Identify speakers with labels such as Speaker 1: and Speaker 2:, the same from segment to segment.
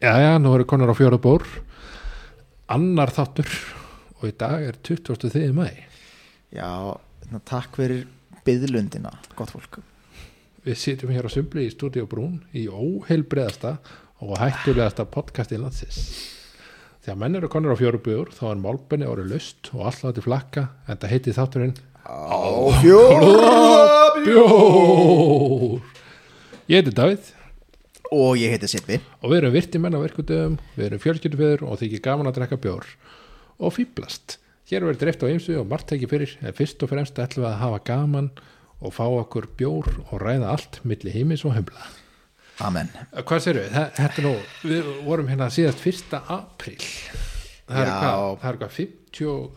Speaker 1: já, já, nú eru konar á fjóra bór annar þáttur og í dag er 23. mæ
Speaker 2: Já, na, takk fyrir byðlundina, gott fólk
Speaker 1: við sitjum hér á Sumbli í Stúdíu Brún í óheilbreðasta og hættulegasta podcasti landsins þegar menn eru konar á fjóra bór þá er málbenni orðið lust og alltaf til flakka en það heiti þátturinn
Speaker 2: Á fjóra
Speaker 1: Bjór ég heiti Davíð
Speaker 2: Og ég heiti Sippi
Speaker 1: og við erum virti menn á verkudöfum við erum fjölskyldufeður og þykir gaman að drekka bjór og fýblast hér verður dreift á ymsu og margt ekki fyrir en fyrst og fremst ætlum við að hafa gaman og fá okkur bjór og ræða allt milli heimis og heimla
Speaker 2: Amen
Speaker 1: Eh, hvað sér við, Þa- þetta er nú við vorum hérna síðast fyrsta april það er
Speaker 2: Já.
Speaker 1: hvað, það er hvað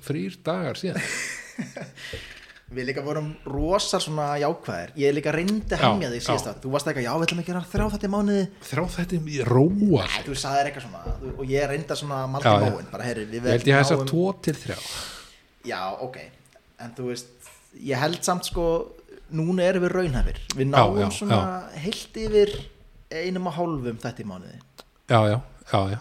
Speaker 1: 53 dagar síðan
Speaker 2: Við líka vorum rosar svona jákvæðir Ég líka reyndi að
Speaker 1: Já,
Speaker 2: hemja þig síðast
Speaker 1: já.
Speaker 2: að Þú varst eitthvað, já, við ætlum að gera þrjá þetta í mánuði
Speaker 1: þrá þetta í róa
Speaker 2: Æ, Þú sagðir eitthvað svona þú- Og ég reyndi að svona malda
Speaker 1: Já, já.
Speaker 2: móin Bara, heyri, við
Speaker 1: ég held ég að þessar
Speaker 2: náum-
Speaker 1: 2 til 3
Speaker 2: Já, ok En þú veist, ég held samt sko Núna erum við raunhæfir Við náum
Speaker 1: já,
Speaker 2: svona heilt yfir einum og hálfum þetta í mánuði
Speaker 1: já, já, já, já.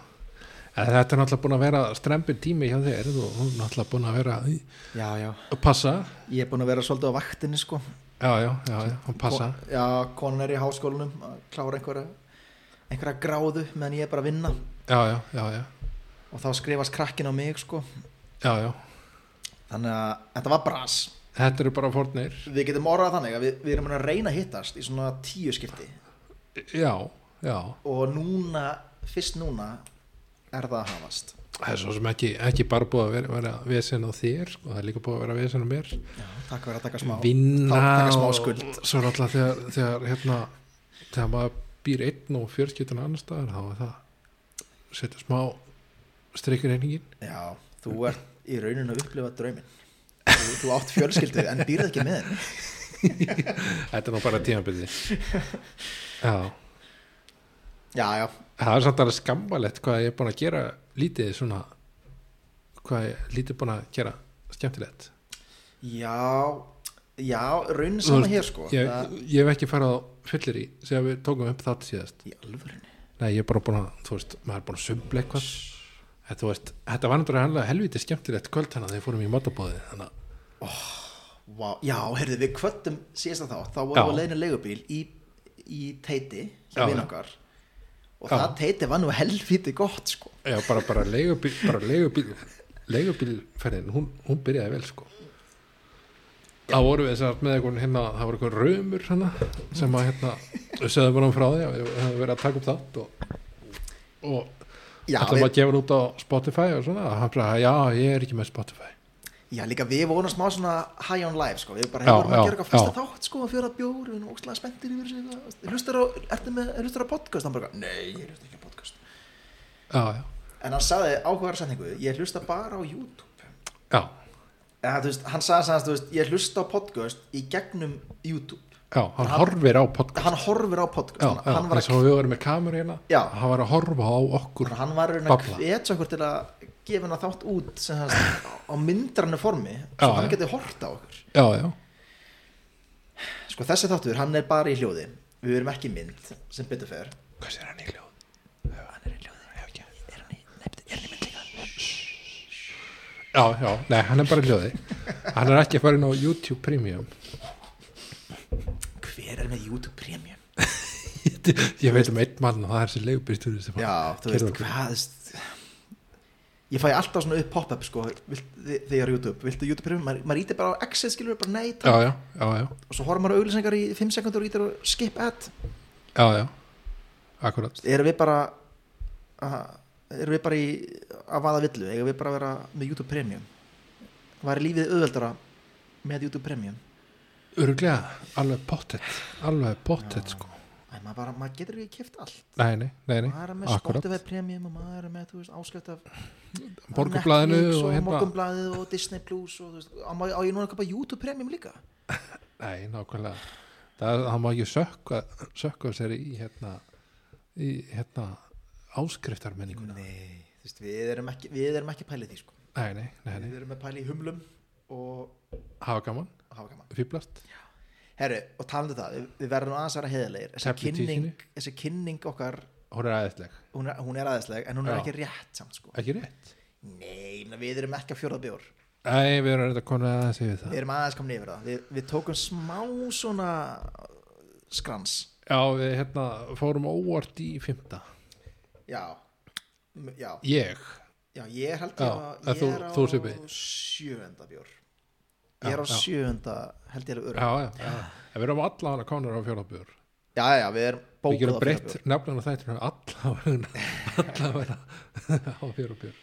Speaker 1: En þetta er náttúrulega búin að vera strempin tími hjá þér þú þú er náttúrulega búin að vera í-
Speaker 2: Já, já
Speaker 1: að passa
Speaker 2: Ég er búin að vera svolítið á vaktinni sko
Speaker 1: já, já, já, já, að passa
Speaker 2: Ko- Já, konan er í háskólanum að klára einhverja einhverja gráðu meðan ég er bara að vinna
Speaker 1: já, já, já, já,
Speaker 2: og þá skrifast krakkin á mig sko
Speaker 1: já, já.
Speaker 2: þannig að þetta var bras
Speaker 1: þetta eru bara fornir
Speaker 2: Við getum orðað þannig að við, við erum að reyna að hittast í svona tíu skipti
Speaker 1: já, já,
Speaker 2: og núna, fyrst núna er það að hafast
Speaker 1: það er svo sem ekki, ekki bara búið að vera, vera vesen á þér sko, það er líka búið að vera vesen á mér
Speaker 2: já, Takk fyrir að taka smá
Speaker 1: vinna
Speaker 2: þá taka smá
Speaker 1: og-
Speaker 2: skuld
Speaker 1: svo er alltaf þegar, þegar hérna, þegar maður býr einn og fjörskiptun annar staðar þá er það setja smá streikur einingin
Speaker 2: Já, þú ert í rauninu að upplifa drauminn þú, þú átt fjölskyldu en býrð ekki með henni
Speaker 1: Þetta er nú bara tímabili Já,
Speaker 2: Já, já,
Speaker 1: það er samt alveg skammalegt hvað ég er búin að gera lítið svona hvað ég er lítið búin að gera skemmtilegt
Speaker 2: Já, já, raunin
Speaker 1: Þú
Speaker 2: sama
Speaker 1: veist,
Speaker 2: hér sko
Speaker 1: ég,
Speaker 2: Það-
Speaker 1: ég hef ekki farið á fyllir í sem við tókum upp þátt síðast
Speaker 2: Í alvörinu
Speaker 1: Nei, ég er bara búin að, þú veist, maður er búin að sumbla eitthvað En þú veist, þetta var náttúrulega helviti skemmtilegt kvöld þannig að þegar við fórum í matabóði þannig að,
Speaker 2: Vá, Já, heyrðu, við kvöttum síðast að þá Þá
Speaker 1: Já.
Speaker 2: vorum við leiðinu leigubíl í, í teiti
Speaker 1: Já,
Speaker 2: hjá vinn
Speaker 1: já.
Speaker 2: okkar Og
Speaker 1: Já.
Speaker 2: það teiti var nú helfíti gott sko
Speaker 1: já, bara, bara leigubíl bara leigubíl, leigubílferðin hún, hún byrjaði vel, sko þá vorum við sem sagt með einhvern hérna, það voru einhvern raumur hérna, sem að hérna, við sögðum bara um frá því að við hefum verið að taka upp þátt og, og
Speaker 2: Já,
Speaker 1: ætlum að
Speaker 2: við,
Speaker 1: gefa hann út á Spotify og svona, og hann bara, já, ég er ekki með Spotify
Speaker 2: já, líka við vorum smá svona high on life sko Við bara
Speaker 1: Já,
Speaker 2: hefum að
Speaker 1: já,
Speaker 2: gera eitthvað fyrsta
Speaker 1: já.
Speaker 2: þátt sko Fjóra bjór, við erum ókslega spenntir yfir sig Hlustar á, ertu með, hlustar á podcast? Hann bara, nei, ég hlusta ekki á podcast
Speaker 1: já, já,
Speaker 2: En hann sagði áhugaðar setningu Ég hlusta bara á YouTube
Speaker 1: já,
Speaker 2: Ja, þú veist, hann sagði sagðist, þú veist, ég hlusta á podcast í gegnum YouTube
Speaker 1: já hann horfir á podcast
Speaker 2: hann horfir á podcast
Speaker 1: já,
Speaker 2: hann,
Speaker 1: já,
Speaker 2: hann var
Speaker 1: eins og við vorum með kameru hérna
Speaker 2: Já.
Speaker 1: hann var að horfa á okkur
Speaker 2: að hann var raun að
Speaker 1: Babla.
Speaker 2: hvetja okkur til að gefa hann þátt út sem hans, á myndrannu formi svo
Speaker 1: Já,
Speaker 2: hann
Speaker 1: já.
Speaker 2: geti hort á okkur
Speaker 1: já, já,
Speaker 2: sko þessi þáttur, hann er bara í hljóði við erum ekki í mynd sem betur fer
Speaker 1: hvað sér hann í hljóð?
Speaker 2: hann er í hljóði er hann í, nei, er hann í mynd líka
Speaker 1: já, já, nei, hann er bara í hljóði hann er ekki að fara inn á YouTube Premium
Speaker 2: hver er með YouTube Premium
Speaker 1: ég veit um einn mann og það er sér leigubýrstur
Speaker 2: já, þú veist, hvað þú veist, ég fæ alltaf svona upp pop-up sko, vilt, þi- þegar YouTube, viltu YouTube Premium maður, maður ítir bara á exit, skilur bara nei takk.
Speaker 1: já, já, já, já
Speaker 2: og svo horfum maður á auglýsingar í 5 sekundur og ítir og skip ad
Speaker 1: já, já, akkurat
Speaker 2: erum við bara að- erum við bara í að vaða villu, eigum við bara að vera með YouTube Premium var lífið auðveldara með YouTube Premium
Speaker 1: öruglega, alveg pottet alveg pottet sko
Speaker 2: Æ, maður, bara, maður getur ekki kipt allt
Speaker 1: nei, nei, nei, nei,
Speaker 2: maður er með
Speaker 1: akkurat
Speaker 2: Spotify Premium og maður er með þú veist, áskrift af
Speaker 1: borgarblaðinu
Speaker 2: Netflix
Speaker 1: og
Speaker 2: og
Speaker 1: hérna
Speaker 2: morgunblaðið og Disney Plus og, þú veist, á, má- á ég núna að köpa YouTube Premium líka
Speaker 1: nei, nákvæmlega það, það má ekki sökka sökka sér í hérna í hérna áskriftarmenninguna nei,
Speaker 2: nei, þú veist, við erum ekki við erum ekki pælið því sko
Speaker 1: nei, nei, nei,
Speaker 2: við erum með pælið í humlum og
Speaker 1: hafa gaman
Speaker 2: hafa gaman
Speaker 1: fýblast,
Speaker 2: Herru, og talandi um það, við, við verðum aðeins að vera heðilegir þessi
Speaker 1: Tefli
Speaker 2: kynning,
Speaker 1: tíkinni.
Speaker 2: þessi kynning okkar
Speaker 1: hún er aðeinsleg,
Speaker 2: hún er, hún er aðeinsleg en hún er
Speaker 1: Já.
Speaker 2: ekki rétt samt sko
Speaker 1: ekki rétt
Speaker 2: nei, ég meina, við erum ekki að fjóra bjór
Speaker 1: Æ, við erum reynda konar að segja það
Speaker 2: við erum aðeins komin yfir það við, við tókum smá svona uh, skrans
Speaker 1: Já, við hérna fórum óvart í fymta
Speaker 2: já, M- já,
Speaker 1: Ég,
Speaker 2: já ég held
Speaker 1: Já,
Speaker 2: ég, að-
Speaker 1: en
Speaker 2: ég
Speaker 1: þú-
Speaker 2: er á
Speaker 1: þú Sibbi.
Speaker 2: sjöunda bjór
Speaker 1: Já,
Speaker 2: ég er á
Speaker 1: já.
Speaker 2: sjöunda held ég er öru já.
Speaker 1: já, já, já.
Speaker 2: Ah.
Speaker 1: En Við erum allan að konar á fjólabjör
Speaker 2: já, já, við erum
Speaker 1: Við
Speaker 2: bókuð
Speaker 1: gerum
Speaker 2: á
Speaker 1: breytt
Speaker 2: fjórabjór
Speaker 1: nefnum þættinu allan að vera á fjólabjör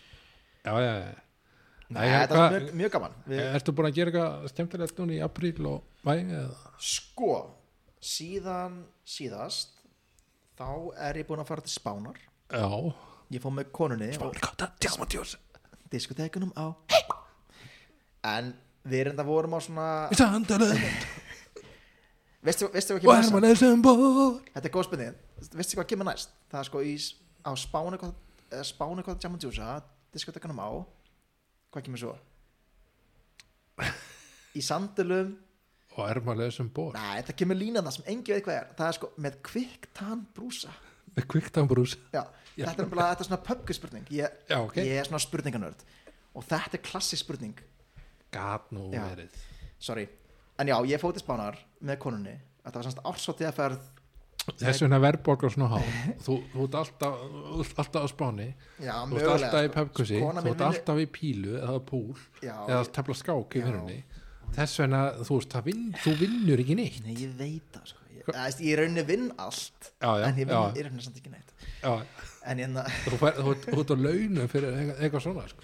Speaker 1: Já, já, já
Speaker 2: Nei,
Speaker 1: Nei,
Speaker 2: þetta
Speaker 1: hvað- Eh.
Speaker 2: er mjög, mjög gaman við,
Speaker 1: Ertu búin að gera eitthvað skemmtilegt núna í apríl og væg eða?
Speaker 2: sko, síðan síðast þá er ég búin að fara til Spánar
Speaker 1: Já
Speaker 2: ég fór með konunni og-
Speaker 1: Bálkáta, djámatjós
Speaker 2: diskotekunum á en við erum það vorum á svona
Speaker 1: Í sandalu
Speaker 2: veistu, veistu hvað
Speaker 1: og
Speaker 2: kemur næst
Speaker 1: hermann eða bór
Speaker 2: þetta er góð spurning, veistu hvað kemur næst það er sko í, s- á spánu eitthvað- eða spánu eitthvað Jam and Juice diskotekunum á hvað kemur svo í sandulum
Speaker 1: Og hermann eða bór
Speaker 2: næ, þetta kemur línan það sem engi veit hvað er það er sko með kviktan brúsa
Speaker 1: Með kviktambrús
Speaker 2: Já, þetta er bara þetta er svona pöpkuspurning ég,
Speaker 1: Já, ok.
Speaker 2: ég er svona spurninganörd og þetta er klassisk spurning
Speaker 1: Gat nú
Speaker 2: Já.
Speaker 1: verið
Speaker 2: sorry en já, ég fótið spánar með konunni þetta var semst ársóttið að ferð
Speaker 1: Þess vegna verðbólgar svona há Þú, þú ert alltaf, þú ert alltaf á spáni
Speaker 2: já,
Speaker 1: Þú ert alltaf í
Speaker 2: sko.
Speaker 1: pöpkusi,
Speaker 2: Kona
Speaker 1: þú
Speaker 2: mín
Speaker 1: ert
Speaker 2: vinnur-
Speaker 1: alltaf í pílu eða púl
Speaker 2: Já,
Speaker 1: eða
Speaker 2: ég-
Speaker 1: tefla skák í
Speaker 2: Já.
Speaker 1: vinnunni Þess vegna, þú veist, það vinn, þú vinnur ekki neitt
Speaker 2: nei, ég veit það sko. ég, eða, veist, ég raunin vinn allt
Speaker 1: Já, já,
Speaker 2: en ég
Speaker 1: já.
Speaker 2: vinn, ég raunin samt ekki neitt
Speaker 1: Já,
Speaker 2: en hérna, ég, na-
Speaker 1: þú fær, þú ert- þú ert á launum fyrir eitthvað, eitthvað svona sko.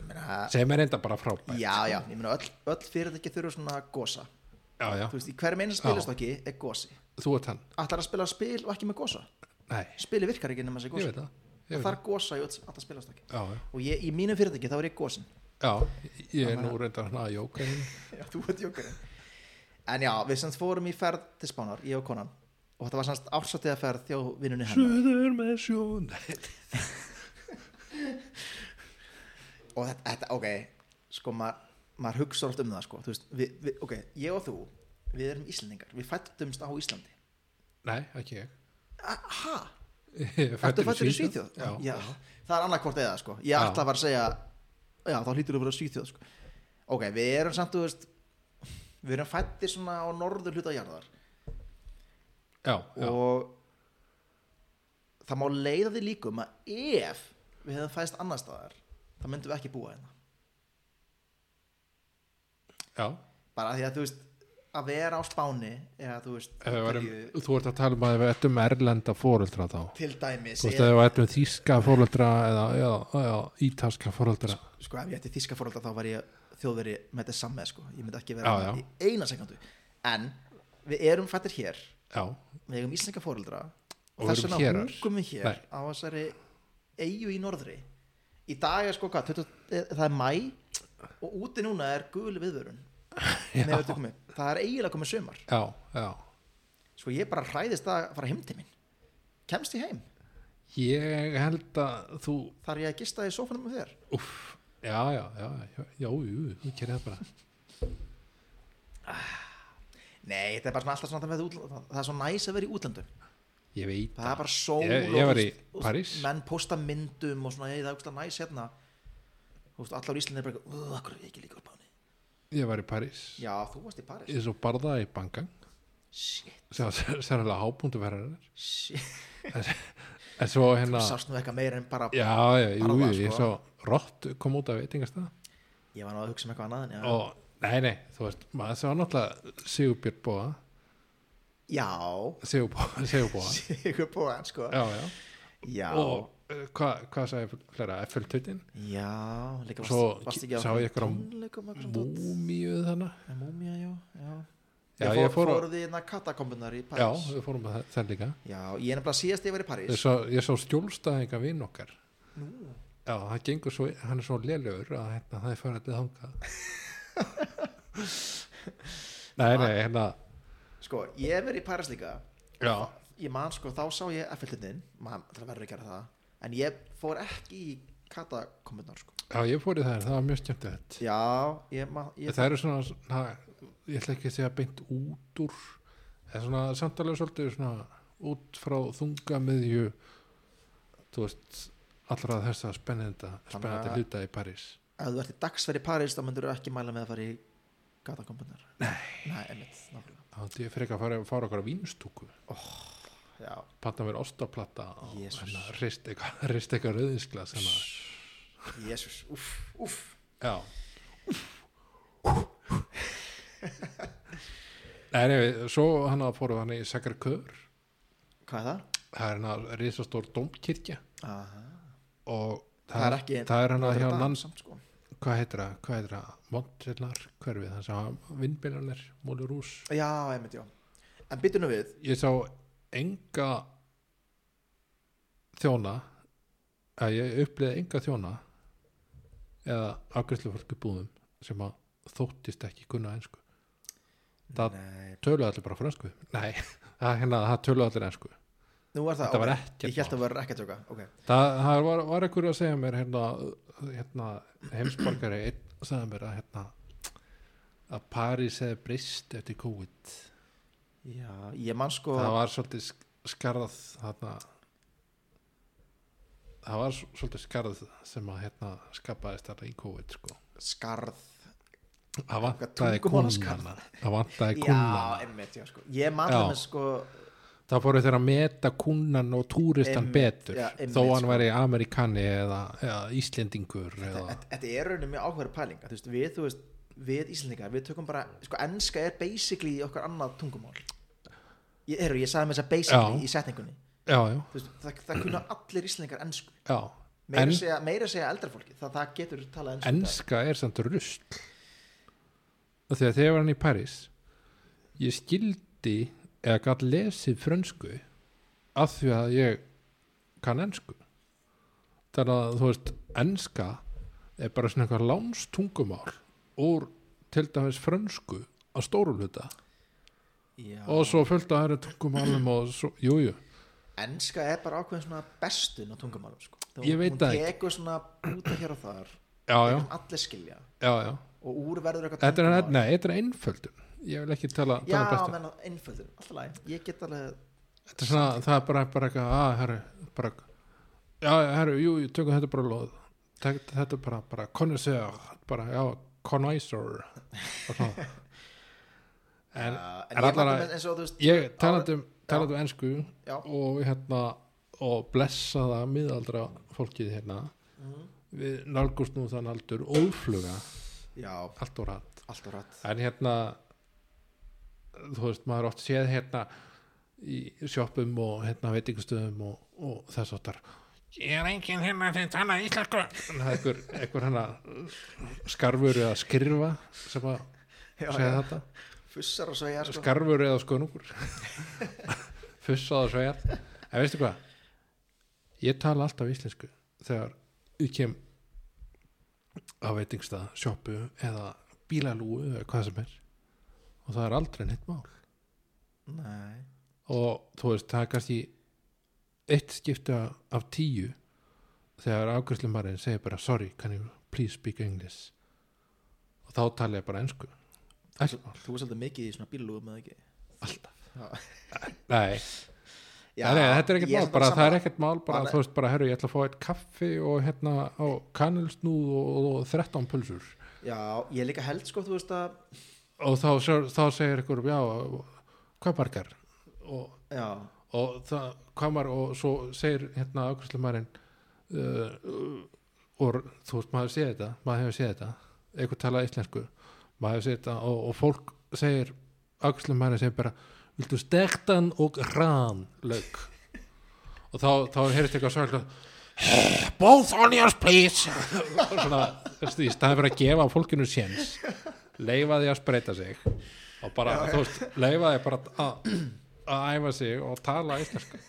Speaker 2: ég meina
Speaker 1: sem er enda bara frábært
Speaker 2: já, já, ég meina öll, öll fyrirtæki þurfa svona gosa
Speaker 1: já, já.
Speaker 2: þú veist, í hverjum einu spilastokki er gosi
Speaker 1: þú ert hann
Speaker 2: allar að spila spil og ekki með gosa
Speaker 1: Nei,
Speaker 2: spili virkar ekki nema þessi
Speaker 1: ég
Speaker 2: gosa
Speaker 1: veit það, ég
Speaker 2: Sko, það
Speaker 1: veit það.
Speaker 2: þarf gosa í öll, allar spilastokki
Speaker 1: Já, já.
Speaker 2: og ég, í mínum fyrirtæki þá er ég gosin
Speaker 1: já, ég er nú reyndar hann að jóka hérna.
Speaker 2: Já, þú ert jókurinn En já, við semst fórum í ferð til Spánar, ég og konan Og þetta var semst ársatiða ferð þjó vinnunni hennar
Speaker 1: Suður með sjón Nei,
Speaker 2: Og þetta, þetta ok, sko maður maður hugsa oft um það sko Þú veist, við, við, ok, ég og þú, við erum Íslendingar Við fættumst á Íslandi
Speaker 1: Nei, ekki ég
Speaker 2: Aha,
Speaker 1: Ég er
Speaker 2: ertu
Speaker 1: fæddur
Speaker 2: fættur í Svíþjóð?
Speaker 1: Já, já.
Speaker 2: það er annað hvort eða sko Ég
Speaker 1: Já.
Speaker 2: ætla að fara að segja, já, þá hlýtur þú að vera Svíþjóð sko Ok, við erum samt, þú veist Við erum fættir svona á norður hluta jarðar
Speaker 1: já,
Speaker 2: og það má leiða því líkum að ef við hefðum fæðist annar staðar þá myndum við ekki búa hérna
Speaker 1: já.
Speaker 2: bara af því að þú veist að vera á Spáni eða þú veist
Speaker 1: Ef við Varum,
Speaker 2: Ítalíu
Speaker 1: þú ert að tala um að við ættum erlenda fóreldra þá
Speaker 2: til dæmis
Speaker 1: Þú veist
Speaker 2: eða,
Speaker 1: að það vætum þýska fóröldra eða, eða, eða ítalska fóröldra
Speaker 2: sko ef ég ætti þíska fórhalda þá var ég þjóðveri með þetta samme sko ég myndi ekki vera
Speaker 1: Já, já.
Speaker 2: í eina sekundu en við erum fættir hér
Speaker 1: Já,
Speaker 2: við eigum íslenska fórhalda og,
Speaker 1: Og
Speaker 2: þess
Speaker 1: erum
Speaker 2: vegna
Speaker 1: hérar.
Speaker 2: húkum við hér
Speaker 1: Nei.
Speaker 2: á þessari eigu í norðri í dag er sko hvað 20, eh, það er mæ og úti núna er gul viðvörun með öllu komið. það er eiginlega komið sömar
Speaker 1: já, já
Speaker 2: sko ég bara hræðist það að fara heim til mín kemst ég heim,
Speaker 1: Ég held að þú
Speaker 2: þar ég að gista í sófanum með þér
Speaker 1: Úff, já, já, já Já, já, jú, þú gerir það bara
Speaker 2: nei, þetta er bara svona alltaf svona það, með útlönd, það er svo næs að vera í útlöndum
Speaker 1: Ég veit
Speaker 2: það er bara sól
Speaker 1: Ég-
Speaker 2: og
Speaker 1: ég var í
Speaker 2: þú veist, og
Speaker 1: París.
Speaker 2: menn posta myndum og svona, ég, það er ógeðslega næs hérna Þú veist, allar í Íslandi er bara eitthvað, "Ugh, af hverju er ég ekki líka á báni
Speaker 1: Ég var í París
Speaker 2: já, þú varst í Paris
Speaker 1: Ég svo barða í bankan
Speaker 2: shit
Speaker 1: sem sérlega hábúndu verðarinnar
Speaker 2: Shit,
Speaker 1: En svo hérna
Speaker 2: sást nú eitthvað meira en bara
Speaker 1: Já, já, jú,
Speaker 2: Barða,
Speaker 1: ég
Speaker 2: sko.
Speaker 1: svo Rott kom út af veitingastæða
Speaker 2: Ég var nú að hugsa um eitthvað annað en já.
Speaker 1: og nei, nei, þú veist, maður svo náttúrulega Sigurbjörn Bóa
Speaker 2: já,
Speaker 1: Sigurbóa, Sigurbóa
Speaker 2: sigur búan sko
Speaker 1: Já, já,
Speaker 2: Já,
Speaker 1: og uh, hvað hva sagði flera FL-tutin
Speaker 2: já líka
Speaker 1: Svo
Speaker 2: varst, varst ekki á
Speaker 1: sá ég eitthvað á
Speaker 2: tónleikum eitthvað svona dót?
Speaker 1: múmíuð þannig
Speaker 2: En Múmía, já, já.
Speaker 1: Já,
Speaker 2: Ég
Speaker 1: ég fór
Speaker 2: fór,
Speaker 1: á-
Speaker 2: fór því innan katakombunar í
Speaker 1: já,
Speaker 2: París
Speaker 1: við fórum að það- það líka
Speaker 2: Já, ég er nefnilega síðast ég var í
Speaker 1: ég
Speaker 2: París
Speaker 1: sá, ég sá skjólstæðinga vinn okkar já, það gengur svo hann er svo lélugur að hérna, það er farið til þangað nei, nei, hérna
Speaker 2: Sko, ég hef verið í París líka
Speaker 1: já,
Speaker 2: Ég man, sko, þá sá ég Eiffeltindin Man, það verður ekki að gera það En ég fór ekki í katakombunar sko.
Speaker 1: já, ég fór í það það var mjög skemmtilegt
Speaker 2: Já, ég, man, ég
Speaker 1: það eru svona, na, ég ætla ekki að segja beint út úr það er svona samtalið svolítið svona út frá þunga miðju þú veist allra þessa spennenda
Speaker 2: Þannig
Speaker 1: spennandi
Speaker 2: að-
Speaker 1: hluta í París
Speaker 2: ef þú ert í dagsferð í París þá myndur þú ekki mæla með að fara í gatakombunar nei, nei einmitt, nákvæmlega.
Speaker 1: þá ætti ég frekar að fara, fara okkar á vínstúku
Speaker 2: já,
Speaker 1: panna mér ostaplata og
Speaker 2: Jesús.
Speaker 1: hérna, rist eitthvað rist eitthvað rauðinsglas hérna.
Speaker 2: jésus, uff, uff
Speaker 1: já Nei, nei, svo hann að fóru hann í Sakarkör
Speaker 2: hvað er það?
Speaker 1: það er hann að risastór domkirkja
Speaker 2: Aha.
Speaker 1: og
Speaker 2: það er ekki
Speaker 1: það er hann að Hérna hjá
Speaker 2: Notre Dame
Speaker 1: lands
Speaker 2: samt, sko.
Speaker 1: hvað heitir það, hvað heitir það Montrenar, hverfið, þannig að vindbyrjanir, Mólurús
Speaker 2: já, einmitt, já en byttu nú við,
Speaker 1: ég sá enga þjóna að ég upplýði enga þjóna eða afgjörslu fólki búðum sem að þóttist ekki kunna einsku Það-
Speaker 2: nei,
Speaker 1: töluðu allir bara fransku nei, það, hérna, það töluðu allir einsku
Speaker 2: nú var það
Speaker 1: þetta var
Speaker 2: ok.
Speaker 1: ekkert
Speaker 2: ég held
Speaker 1: mál.
Speaker 2: að vera ekki að tjóka ok,
Speaker 1: það, það var, var ekkur að segja mér hérna, hérna heimsborgari einn sagði mér að hérna að París hefði breyst eftir COVID
Speaker 2: já, ég man sko
Speaker 1: það var svolítið sk- skarð hérna það var s- svolítið skarð sem að hérna skapaðist þarna í COVID sko
Speaker 2: skarð
Speaker 1: það vantaði
Speaker 2: tungumálaskarð.
Speaker 1: kunnana það vantaði
Speaker 2: já,
Speaker 1: kunnana
Speaker 2: einmitt, já, sko ég man
Speaker 1: Já.
Speaker 2: það með sko
Speaker 1: það fóru þeir að meta kunnan og túristan
Speaker 2: Einmitt,
Speaker 1: betur
Speaker 2: já, einmitt,
Speaker 1: þó hann
Speaker 2: sko.
Speaker 1: væri amerikani eða, eða Íslendingur eða,
Speaker 2: þetta þetta er rauninni mjög áhverju pæling að, þú veist, við, þú veist, við Íslandingar við tökum bara, sko, enska er basically okkar annað tungumál ég, eru, ég sagði með þess að
Speaker 1: Já.
Speaker 2: basically í setningunni
Speaker 1: já, já,
Speaker 2: Þú veist, það, það kunna allir Íslandingar ensku
Speaker 1: já
Speaker 2: meira,
Speaker 1: en,
Speaker 2: segja, meira segja eldra fólki það, það getur talað ensku í dag.
Speaker 1: enska er samt rusl og þegar þegar ég var hann í París ég skildi eða gætt lesið frönsku af því að ég kann ensku þannig að þú veist enska er bara svona eitthvað lánstungumál úr til dæmis frönsku að stóru hluta
Speaker 2: Já.
Speaker 1: og svo fullt að það eru tungumálum og svo, jú, jú,
Speaker 2: enska er bara ákveðin svona bestun á tungumálum sko. Þú-
Speaker 1: Ég veit
Speaker 2: hún
Speaker 1: það ekki.
Speaker 2: tekur svona út hér og þar
Speaker 1: já, já,
Speaker 2: sem allir skilja
Speaker 1: já, já
Speaker 2: og úr verður eitthvað
Speaker 1: þetta er, hérna
Speaker 2: tungumál.
Speaker 1: nei, þetta er einföldun ég vil ekki tala,
Speaker 2: já,
Speaker 1: tala bestu
Speaker 2: menn einföldur, alltaf læg ég get alveg,
Speaker 1: þetta er svona, það er bara, bara eitthvað að, herru, bara já, herru, jú, jú, tökum þetta bara loð Tek, þetta er bara, bara, connoisseur bara, já, connoisseur og svona en
Speaker 2: uh,
Speaker 1: er
Speaker 2: en ég
Speaker 1: allar
Speaker 2: man
Speaker 1: að-
Speaker 2: það eins og þú veist
Speaker 1: ég talandi um, talandi um ensku
Speaker 2: já,
Speaker 1: og hérna og blessaða miðaldra fólkið hérna
Speaker 2: Mhm.
Speaker 1: við nálgust nú þann aldur ófluga
Speaker 2: já,
Speaker 1: allt og rætt
Speaker 2: alltaf rætt
Speaker 1: en hérna þú veist maður oft séð hérna í sjoppum og hérna veitingastöðum og, og þess áttar ég er enginn hérna sem tala íslensku En það er einhver, einhver hérna skarfur eða skrifa sem að
Speaker 2: Já,
Speaker 1: segja
Speaker 2: já.
Speaker 1: þetta
Speaker 2: fussar og segja sko.
Speaker 1: skarfur eða skönungur fussað og svegar en veistu hvað ég tala alltaf íslensku þegar ég kem á veitingstað, sjoppu eða bílalúu eða hvað sem er og það er aldrei neitt mál
Speaker 2: nei,
Speaker 1: og þú veist, það er kannski eitt skipta af tíu þegar afgjörslumarinn segir bara sorry, can you please speak English og þá tala ég bara ensku Ekkert mál,
Speaker 2: þú er svolítið mikið í svona bílugum eða ekki
Speaker 1: alltaf nei nei, nei, þetta er ekkert
Speaker 2: ég
Speaker 1: mál,
Speaker 2: samt
Speaker 1: bara, það er
Speaker 2: sammála.
Speaker 1: ekkert mál bara,
Speaker 2: Bara-
Speaker 1: þú veist, bara, herru, ég ætla að fá eitt kaffi og hérna, og kanilsnúð og, og, og 13 pulsur
Speaker 2: já, ég líka held sko, þú veist að
Speaker 1: og þá, þá, þá segir ykkur, já, hvað margar og,
Speaker 2: já,
Speaker 1: og það, hvað margar og svo segir hérna ákvæmstumærin uh, og þú veist, maður séð þetta maður hefur séð þetta, eitthvað talað íslensku maður hefur séð þetta og, og fólk segir, ákvæmstumærin segir bara viltu stektan og rán lög og þá, þá heyrist eitthvað svo eitthvað both onions please Og svona, þessi, í staði fyrir að gefa fólkinu séns leifa því að spreita sig og bara, þú veist, leifa því bara að, að æfa sig og tala íslensku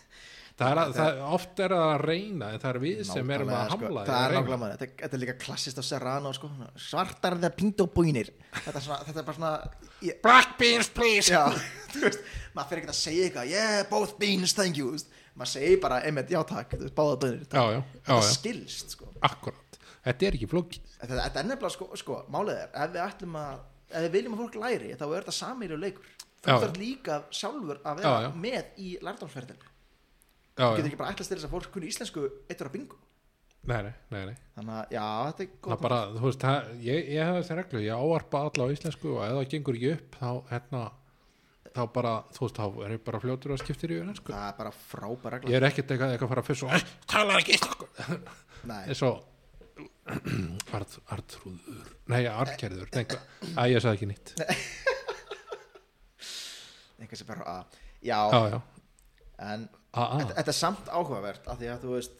Speaker 1: það er að, það, oft er það að reyna en það er við sem erum
Speaker 2: nákvæmlega,
Speaker 1: að hamla
Speaker 2: sko,
Speaker 1: því
Speaker 2: það
Speaker 1: að
Speaker 2: er
Speaker 1: reyna.
Speaker 2: nákvæmlega maður, þetta, þetta er líka klassist á Serrano sko, svona, svartar þegar pínt og búinir þetta er, svona, þetta er bara svona ég,
Speaker 1: black beans please
Speaker 2: já, þú veist, maður fyrir ekki að segja eitthvað yeah, both beans, thank you þú veist. maður segir bara, einmitt, já takk, þú veist, báða bönir
Speaker 1: já, já, já,
Speaker 2: þetta
Speaker 1: já,
Speaker 2: skilst sko.
Speaker 1: akkurat þetta er ekki flókin
Speaker 2: þetta, þetta er nefnilega, sko, sko, málið er ef við ætlum að, ef við viljum að fólk læri þá er þetta samýri leikur þú
Speaker 1: Já.
Speaker 2: þarf líka sjálfur að vera
Speaker 1: Já, já.
Speaker 2: með í lærdámsferðin þú
Speaker 1: já,
Speaker 2: getur
Speaker 1: já,
Speaker 2: ekki bara ætlast til þess að fólk kunni íslensku eittur að bingo
Speaker 1: nei, nei, nei, nei.
Speaker 2: þannig að já, þetta er
Speaker 1: það
Speaker 2: góð
Speaker 1: bara, þú veist, það, ég, ég hef þessi reglu ég ávarpa alla á íslensku og ef það gengur ekki upp þá, hérna þá bara, þú veist, þá er ég bara fljótur að skiptir í öðrensku,
Speaker 2: það er bara frábær regla
Speaker 1: ég er ekkert eitthvað, eitthvað að fara fyrst og "Æ, talar ekki íslensku
Speaker 2: Nei,
Speaker 1: eins og Art, Artrúður, nei, Artgerður nei, hvað- Æ, ég sagði ekki nýtt
Speaker 2: einhvers er bara að já,
Speaker 1: já, já, Ah,
Speaker 2: en
Speaker 1: a, a,
Speaker 2: þetta, þetta er samt áhugavert af því að þú veist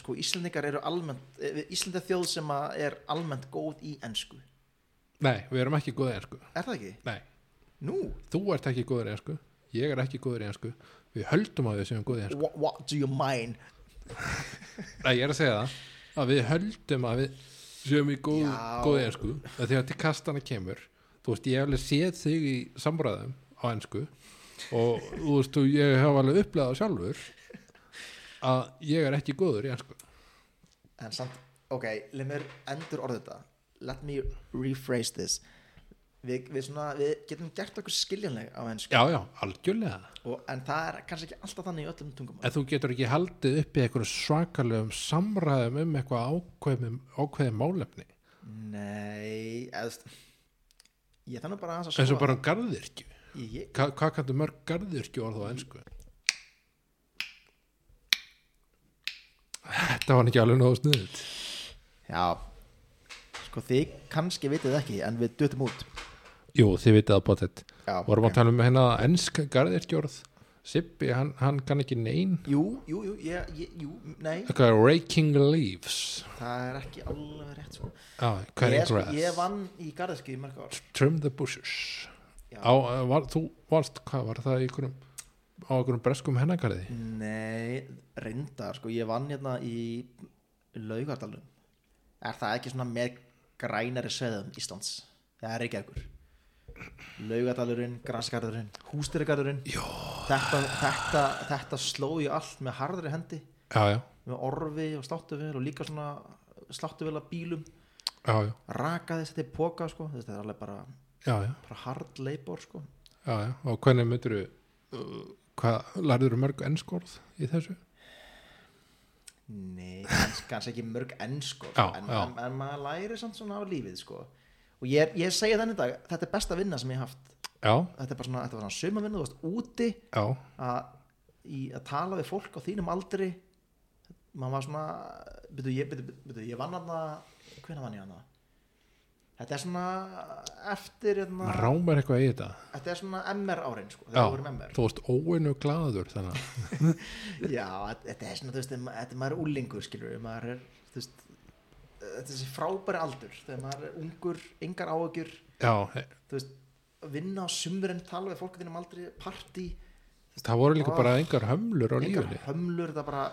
Speaker 2: sko, Íslendingar eru almennt Íslenda þjóð sem að er almennt góð í ensku,
Speaker 1: nei, við erum ekki góðið einsku
Speaker 2: er það ekki?
Speaker 1: nei,
Speaker 2: Nú,
Speaker 1: þú ert ekki góður í einsku ég er ekki góður í einsku við höldum að við séum góðið einsku
Speaker 2: what, what do you mean?
Speaker 1: nei, ég er að segja það að við höldum að við séum í góð,
Speaker 2: Já.
Speaker 1: góðið einsku þegar til kastana kemur þú veist, ég hef alveg séð þig í samræðum á einsku og þú veist, og ég hef alveg upplegað það sjálfur að ég er ekki góður í einsku
Speaker 2: En samt, ok, leið mér endur orðið þetta Let me rephrase this Við, við, svona, við getum gert okkur skiljanleg á ensku
Speaker 1: já, já, algjörlega
Speaker 2: og, En það er kannski ekki alltaf þannig í öllum tungumál
Speaker 1: En þú getur ekki haldið upp í einhverju svakalegum samræðum um eitthvað ákveðum, ákveðum málefni
Speaker 2: Nei, eðst Ég þannig bara aðeins að
Speaker 1: eins og
Speaker 2: skoða
Speaker 1: bara um garðirkju
Speaker 2: Ég,
Speaker 1: Hva, hvað kanntu mörg garðirkju orð á ennsku? Þetta var ekki alveg nógu sniðut
Speaker 2: Já Sko þið kannski vitið ekki en við dutum út
Speaker 1: Jú, þið vitið að bótt þetta
Speaker 2: Já,
Speaker 1: Vorum
Speaker 2: ok.
Speaker 1: að tala um hérna ennsk garðirkju orð Sippi, hann, hann kann ekki nein
Speaker 2: Jú, jú, jú, ég, ég, jú, nei
Speaker 1: Eitthvað raking leaves
Speaker 2: Það er ekki alveg rétt sko
Speaker 1: ah,
Speaker 2: Ég, er
Speaker 1: Cutting
Speaker 2: sko,
Speaker 1: grass
Speaker 2: ég vann í garðiski í mörg ár
Speaker 1: Trim the bushes
Speaker 2: Já.
Speaker 1: á, eh, var, Þú varst, hvað var það í einhverjum á einhverjum breskum hennakarði
Speaker 2: Nei, reyndar sko Ég vann hérna í Laugardalum Er það ekki svona með grænari sveðum Íslands? Það er ekki ekkur Laugardalurinn, Grasgarðurinn, Hústyrgarðurinn þetta, þetta, þetta sló ég allt með harðri hendi
Speaker 1: Já, já,
Speaker 2: með orfi og sláttuvel og líka svona sláttuvel að bílum
Speaker 1: já, já,
Speaker 2: rakaði þetta í póka sko þetta er alveg bara,
Speaker 1: já, já,
Speaker 2: bara hard labor sko
Speaker 1: já, já. Og hvernig myndir uh, Hvað, lærður mörg ennskorð í þessu?
Speaker 2: nei, kannski, kannski ekki mörg enn sko
Speaker 1: Já,
Speaker 2: en,
Speaker 1: já.
Speaker 2: En, en maður læri samt svona á lífið sko og ég, er- ég segja þannig í dag þetta er besta vinna sem ég hef haft
Speaker 1: Já,
Speaker 2: þetta er bara svona, þetta var svona sumavinna, þú varst úti
Speaker 1: já,
Speaker 2: að, í, að tala við fólk á þínum aldri maður var svona byrju, ég, byrju, byrju, ég vann hana hvenær vann ég hana þetta er svona eftir hérna,
Speaker 1: maður rámar eitthvað í þetta
Speaker 2: þetta er svona MR árin sko,
Speaker 1: Já,
Speaker 2: þegar við vorum MR
Speaker 1: þú varst óinu glaður þannig að-
Speaker 2: já, þetta er svona, þú veist, ma- þetta er maður er úlingur skilur, maður er þú veist, eh, þetta er þessi frábæri aldur þegar maður er ungur, engar áökjur
Speaker 1: Já, eh,
Speaker 2: þú veist, vinna á sumurinn tala við fólk á þínum aldri, partí
Speaker 1: það voru líka
Speaker 2: Ó.
Speaker 1: bara engar hömlur á
Speaker 2: engar
Speaker 1: lífinni
Speaker 2: hömlur það bara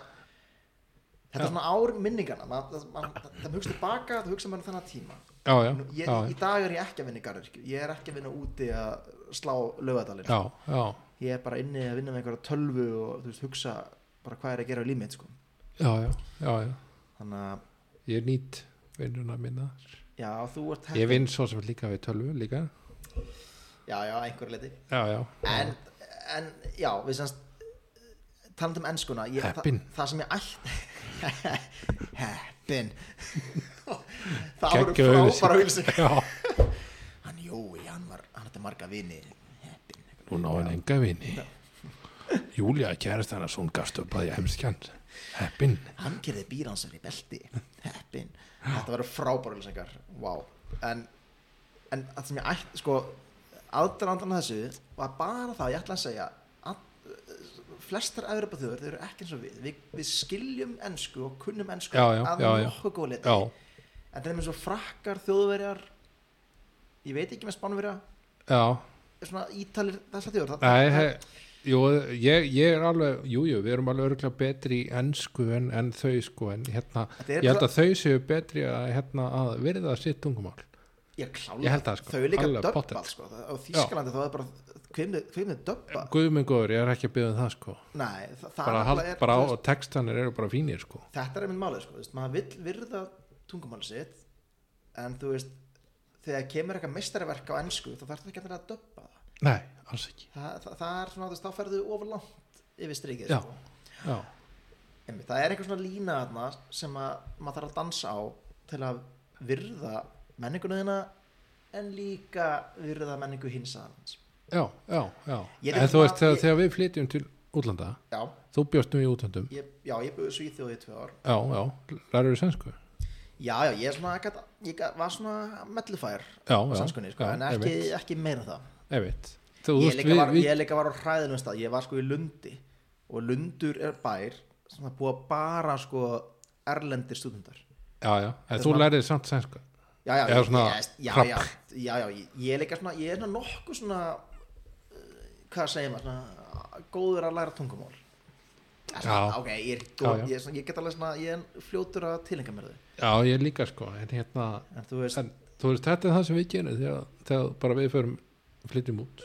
Speaker 2: þetta er svona ár minningana ma, það, ma, það, það hugsa tilbaka, það hugsa maður þannig tíma
Speaker 1: Já, já,
Speaker 2: Nú, ég,
Speaker 1: já,
Speaker 2: í dag er ég ekki að vinna í garðirkju ég er ekki að vinna úti að slá lögadalinn
Speaker 1: já, já,
Speaker 2: ég er bara inni að vinna með einhverja tölvu og þú veist, hugsa bara hvað er að gera í límið sko.
Speaker 1: já, já, já, já.
Speaker 2: þannig að,
Speaker 1: Ég nýtt vinnuna minna
Speaker 2: já, þú ert
Speaker 1: Ég vinn svo sem líka við tölvu líka
Speaker 2: já, já, einhverja leiti
Speaker 1: Já, já, já,
Speaker 2: en, en, já, við semst talandi um ennskuna ég, það-
Speaker 1: Heppin.
Speaker 2: það sem ég ætti heppin það voru
Speaker 1: Geggjöð auglýsing.
Speaker 2: frábæra auðlýsing
Speaker 1: já
Speaker 2: hann Jói, hann var, hann hætti marga vini Heppin.
Speaker 1: Hún á hann enga vini Júlia kærast hann að svo hún gafst upp að ég heimskjan Heppin
Speaker 2: hann gerði býransar í belti Heppin. þetta verður frábárulsengar wow. en, en það sem ég ætti sko, aðdraðandan að þessu var bara það, ég ætla að segja að, eh, flestar Evropa þjóður, þau eru ekki eins og við Vi, við skiljum ensku og kunnum ensku
Speaker 1: Já, já,
Speaker 2: að
Speaker 1: já, já.
Speaker 2: nokkuð góð liti
Speaker 1: Já,
Speaker 2: en það er með svo frakkar þjóðverjar ég veit ekki með spánverja
Speaker 1: já
Speaker 2: svona ítalir þessar þjóður það-
Speaker 1: Nei,
Speaker 2: það-
Speaker 1: he, jú, ég, ég er alveg Jú, jú, við erum alveg örgulega betri í ennsku en, en þau sko en hérna,
Speaker 2: Þetta er
Speaker 1: ég held að þau séu betri að, hérna, að virða sitt tungumál
Speaker 2: Ég klála,
Speaker 1: Ég held það, sko.
Speaker 2: þau er líka
Speaker 1: Alveg
Speaker 2: döbbað
Speaker 1: pottet.
Speaker 2: sko. Það- á Þýskalandi þá er bara hvimni döbba
Speaker 1: Guðminn góður, ég er ekki að byggja um það sko
Speaker 2: Nei, það, það
Speaker 1: bara, hald,
Speaker 2: nefnilega er,
Speaker 1: bara á
Speaker 2: þú veist,
Speaker 1: og textanir eru bara fínir sko
Speaker 2: þetta er einmitt málið sko. þú veist, maður vill virða tungumáli sitt en þú veist þegar kemur eitthvað meistarverk á ennsku þá þarf þetta ekki endilega að döbba það
Speaker 1: nei, alls ekki
Speaker 2: það, það, það er svona, þú veist, þá ferðu ofurlangt yfir strikið
Speaker 1: Já.
Speaker 2: sko.
Speaker 1: já,
Speaker 2: Einmitt, það er eitthvað svona lína þarna sem að maður þarf að dansa á til að virða menninguna þína en líka virða menningu hins aðeins
Speaker 1: já, já, já.
Speaker 2: Ég er
Speaker 1: en
Speaker 2: ekki
Speaker 1: þú
Speaker 2: bara-
Speaker 1: veist, þegar,
Speaker 2: ég-
Speaker 1: þegar við flytjum til útlanda,
Speaker 2: já,
Speaker 1: þú bjóst nú í útlandum
Speaker 2: ég, já, ég búið svíþjóði í tvö ár
Speaker 1: já, já, lærur við sænsku
Speaker 2: já, já, ég, er svona, gat, ég gat, var svona mellufær
Speaker 1: já, já,
Speaker 2: sannskunni, sko,
Speaker 1: já,
Speaker 2: en ekki, ekki meira en það
Speaker 1: ég veit þú
Speaker 2: ég,
Speaker 1: veist,
Speaker 2: líka
Speaker 1: við,
Speaker 2: var,
Speaker 1: við,
Speaker 2: ég líka var á hræðinum stað ég var sko í Lundi og Lundur er bær sem það búa bara sko erlendir stúdendar
Speaker 1: já, já, en
Speaker 2: Þetta
Speaker 1: þú
Speaker 2: var-
Speaker 1: lærið samt sænsku
Speaker 2: já, já,
Speaker 1: Eða
Speaker 2: ég-
Speaker 1: svona
Speaker 2: ég- já,
Speaker 1: krabb.
Speaker 2: já, já, já, ég- ég er líka svona ég er svona nokkuð svona uh, hvað segir maður, svona góður að læra tungumál Það er svona,
Speaker 1: Já.
Speaker 2: ok, ég er,
Speaker 1: Já,
Speaker 2: góð,
Speaker 1: já.
Speaker 2: Ég, er svona, ég get alveg svona ég er fljótur að tilenga mér þau
Speaker 1: já, ég líka sko, en hérna
Speaker 2: en þú veist,
Speaker 1: en, þú veist, þetta er það sem við gerum þegar, þegar bara við förum flytjum út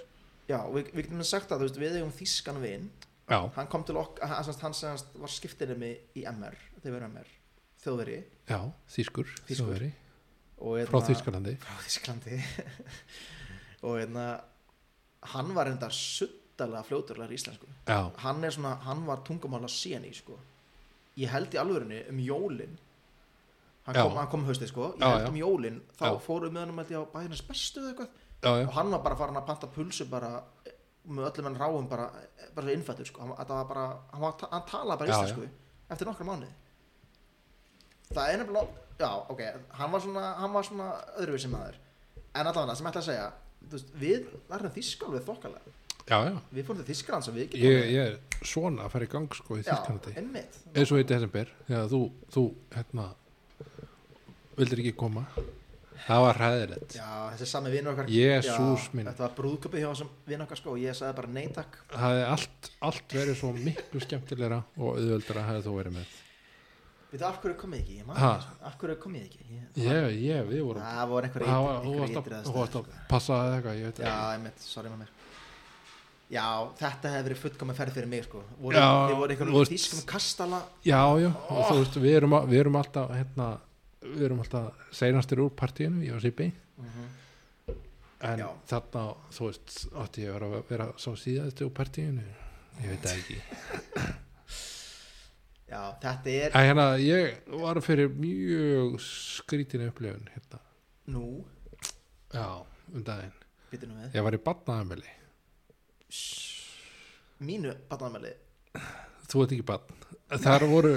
Speaker 2: já, við, við getum sagt að þú veist, við eigum þýskan vin
Speaker 1: já,
Speaker 2: hann kom til okk, hann, hann, hann, hann var skiptinni í MR, þegar við erum MR þjóðveri
Speaker 1: já, þýskur
Speaker 2: Þýskur.
Speaker 1: Þjóðverji,
Speaker 2: og
Speaker 1: frá
Speaker 2: hérna-
Speaker 1: Þýskalandi
Speaker 2: frá Þísklandi og hérna hann var enda suttalega fljóturlega í íslensku
Speaker 1: já,
Speaker 2: hann er svona, hann var tungumála síni sko. ég held í alvörunni um jólin hann
Speaker 1: Já.
Speaker 2: kom, hann kom haustið sko ég
Speaker 1: Já,
Speaker 2: held
Speaker 1: já.
Speaker 2: um jólin, þá
Speaker 1: Já.
Speaker 2: fórum við hann held ég á bæðinans bestu eða eitthvað
Speaker 1: já, já,
Speaker 2: og hann var bara farin að panta pulsu bara eh, með öllum hann ráum bara, eh, bara innfættur sko, hann, þetta var bara, hann, var, ta- hann talaði bara
Speaker 1: Já,
Speaker 2: íslensku eftir nokkra mánuði það er nefnilega já, ok, hann var svona, hann var svona öðruvísi maður, en allavega sem ég ætla að segja, þú veist, við verðum þýskal við þokkalega,
Speaker 1: já, já
Speaker 2: við fórum til Þýskaland sem við getum
Speaker 1: ég, ég er svona að fara í gang sko í Þýskalandi
Speaker 2: já, einmitt,
Speaker 1: eins og í desember þegar þú, þú hérna vildir ekki koma það var hræðilegt
Speaker 2: já, þessi sami vinur okkar
Speaker 1: Jesús
Speaker 2: Já,
Speaker 1: minn.
Speaker 2: þetta var brúðköpi hjá þessum vinur okkar sko, og ég sagði bara neytak
Speaker 1: það hefði allt, allt verið svo miklu skemmtilegra og auðveldara hefði þú verið með
Speaker 2: við það af hverju komið ekki, ég man
Speaker 1: Ha.
Speaker 2: ekki, sko. af hverju komið ekki ég,
Speaker 1: ég, ég, við vorum
Speaker 2: það voru einhverja
Speaker 1: það
Speaker 2: ytri-
Speaker 1: var, þú varst að,
Speaker 2: einhverjar ytri aðstæður,
Speaker 1: þú varst
Speaker 2: sko.
Speaker 1: að passa eða eitthvað, ég veit
Speaker 2: Já,
Speaker 1: ekki
Speaker 2: einmitt, sorry maður Já, þetta hefði verið fullkomin ferð fyrir mig sko voru,
Speaker 1: Já,
Speaker 2: Þið voru
Speaker 1: þú
Speaker 2: einhverjum
Speaker 1: veist-
Speaker 2: þýskum kastala
Speaker 1: já, já, og þú veist, við erum, að- við erum alltaf hérna, við erum alltaf seinastir úr partíinu, ég og Sipi Mhm. en
Speaker 2: Já.
Speaker 1: þarna, þú veist, átti ég að vera, vera sá síðast úr partíinu ég veit það ekki
Speaker 2: Já, þetta er
Speaker 1: Æ, hérna, ég var fyrir mjög skrítin upplifun hérna.
Speaker 2: Nú,
Speaker 1: Já, um daginn.
Speaker 2: býtum við
Speaker 1: Ég var í batnaðamili.
Speaker 2: Mínu batnaðamæli
Speaker 1: Þú veit ekki batn. Þar voru,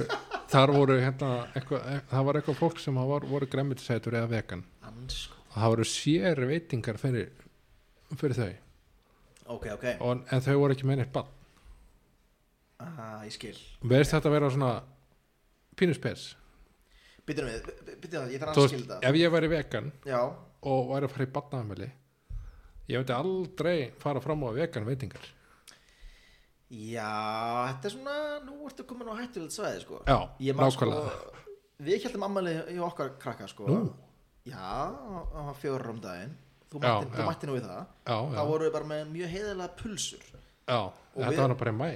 Speaker 1: þar voru hérna, eitthva, það var eitthvað fólk sem var, voru gremmitisætur eða vegan.
Speaker 2: Ansko
Speaker 1: Og það voru sér veitingar fyrir, fyrir þau.
Speaker 2: Ok, ok
Speaker 1: Og, en þau voru ekki með neitt batn.
Speaker 2: ah, Ég skil
Speaker 1: Verðist þetta vera svona pínuspes.
Speaker 2: Býtum við, býtum við, ég þarf
Speaker 1: Þú
Speaker 2: að
Speaker 1: veist,
Speaker 2: skilja það
Speaker 1: ef ég væri vegan
Speaker 2: Já,
Speaker 1: og væri að fara í batnaðamili, ég myndi aldrei fara fram á vegan veitingar.
Speaker 2: já, þetta er svona Nú ertu komin á hættulegt svæði sko
Speaker 1: Já,
Speaker 2: Ég man sko
Speaker 1: nákvæmlega.
Speaker 2: Við heldum ammæli í okkar krakka sko
Speaker 1: Nú.
Speaker 2: Já, það var fjórar um daginn Þú
Speaker 1: Já,
Speaker 2: mætti, þú
Speaker 1: já.
Speaker 2: mætti nú í það
Speaker 1: Já, já.
Speaker 2: þá voru við bara með mjög heiðalega pulsur
Speaker 1: Já, þetta
Speaker 2: við-
Speaker 1: var nú bara í mæ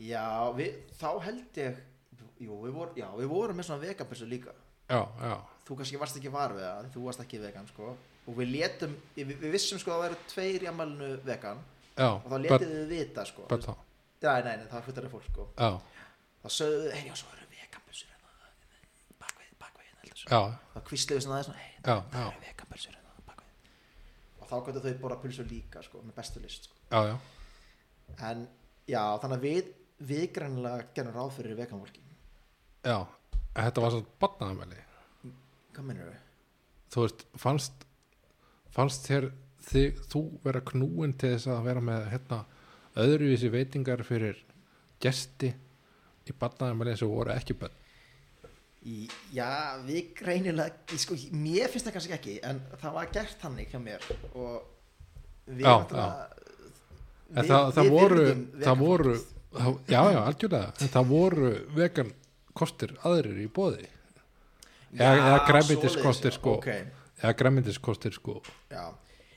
Speaker 2: já, við, þá held ég jú, við voru, já, við vorum með svona vegapulsur líka
Speaker 1: Já, já,
Speaker 2: þú kannski varst ekki var við það, en þú varst ekki vegan sko. og við letum, við, við vissum sko að það væru tveir í ammælinu vegan
Speaker 1: já
Speaker 2: og þá
Speaker 1: but-
Speaker 2: letið við vita sko.
Speaker 1: but þá,
Speaker 2: já, nei, nei, það fullari fólk sko.
Speaker 1: Já,
Speaker 2: þá sögðu við, hérna, hei, já, svo eru veganpulsur bakvið, bakvið, heldur svo
Speaker 1: já,
Speaker 2: þá kvísluðu svona aðeins, hei,
Speaker 1: já, já,
Speaker 2: það eru veganpulsur bakvið hérna, og þá gætu þau borða pulsur líka sko, með bestu list sko.
Speaker 1: já, já
Speaker 2: en já, þannig að við við greinlega gerum ráð fyrir veganfólki
Speaker 1: Já, en þetta var svo batnaðamæli
Speaker 2: hvað minnur við?
Speaker 1: Þú veist, fannst fannst þér þig, þú vera knúin til þess að vera með hérna, öðruvísi veitingar fyrir gesti í batnaðamæli sem voru ekki bönn
Speaker 2: Í, já, við greinilega í, sko, mér finnst það kannski ekki en það var gert þannig hjá mér og við
Speaker 1: Já,
Speaker 2: náttúrulega-
Speaker 1: En það, það, voru,
Speaker 2: virðum
Speaker 1: það
Speaker 2: vegan
Speaker 1: voru
Speaker 2: fólk.
Speaker 1: það, Já, já, algjörlega En það voru vegan kostir aðrir í bóði
Speaker 2: Já,
Speaker 1: eða- eða grænmetiskostir,
Speaker 2: svoleiðis,
Speaker 1: sko.
Speaker 2: ok,
Speaker 1: eða græmyndiskostir sko
Speaker 2: já.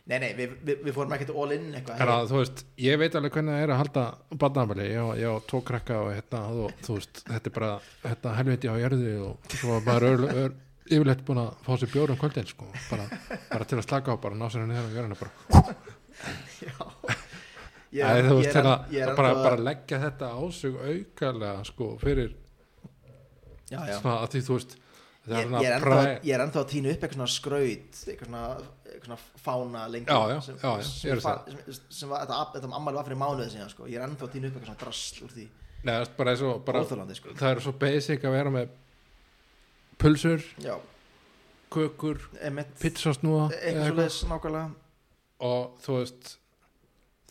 Speaker 2: nei, nei, við, við, við fórum ekkert all in eitthvað
Speaker 1: Er að, þú veist, ég veit alveg hvernig það er að halda barnafæli, ég, á- ég á tvo krakka og hérna, þú, þú veist, þetta er bara hérna, helviti á jörðu og svo var bara öll, öll, yfirleitt búin að fá sér bjór um kvöldin, sko, bara, bara til að slaka á, bara ná sér henni þegar á jörðina, bara,
Speaker 2: já, Ég
Speaker 1: Æ,
Speaker 2: er-
Speaker 1: þú
Speaker 2: ég
Speaker 1: veist
Speaker 2: er-
Speaker 1: hérna,
Speaker 2: ég er
Speaker 1: bara,
Speaker 2: ennþá-
Speaker 1: bara leggja þetta á sig aukarlega sko fyrir
Speaker 2: Já, já.
Speaker 1: svona að því þú veist það er
Speaker 2: Ég, ég, er
Speaker 1: svona
Speaker 2: ennþá,
Speaker 1: præ
Speaker 2: ég er ennþá að tína upp eitthvað svona skraut eitthvað svona, eitthvað svona fána lengi
Speaker 1: Já, já,
Speaker 2: sem,
Speaker 1: já, já, ég er
Speaker 2: sem,
Speaker 1: að
Speaker 2: fa- sem, sem var, þetta, þetta ammali var fyrir mánuði síðan sko. ég er ennþá að tína upp eitthvað svona drasl úr því
Speaker 1: Nei, það er bara svo, bara,
Speaker 2: óþjólandi sko.
Speaker 1: það er svo basic að vera með pulsur,
Speaker 2: já,
Speaker 1: kökur
Speaker 2: emitt
Speaker 1: pizzasnúða eða
Speaker 2: eitthvað svo leðis nákvæmlega
Speaker 1: og þú veist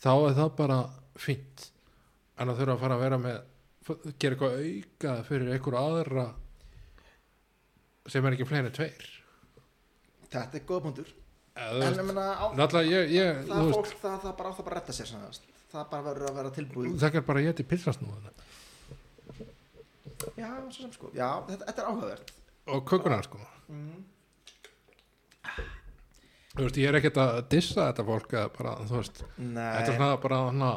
Speaker 1: þá er það bara fínt en að þurfa að fara að vera með gera eitthvað auka fyrir einhver aðra sem er ekki fleiri en tveir
Speaker 2: þetta er góða punktur
Speaker 1: eða, þú
Speaker 2: en
Speaker 1: veist,
Speaker 2: ég meina, á,
Speaker 1: náttúrulega ég, ég
Speaker 2: það
Speaker 1: þú
Speaker 2: er
Speaker 1: veist,
Speaker 2: fólk það, það bara á það bara að retta sér svona, þú veist. það bara verður að vera tilbúið
Speaker 1: það er bara að geta pilsasnúðan
Speaker 2: já, svo sem sko, já, þetta, þetta er áhugavert
Speaker 1: og kökunar sko
Speaker 2: mm.
Speaker 1: þú veist, ég er ekkert að dissa þetta fólk eða bara, þú veist, þetta er
Speaker 2: nei,
Speaker 1: svona bara hana,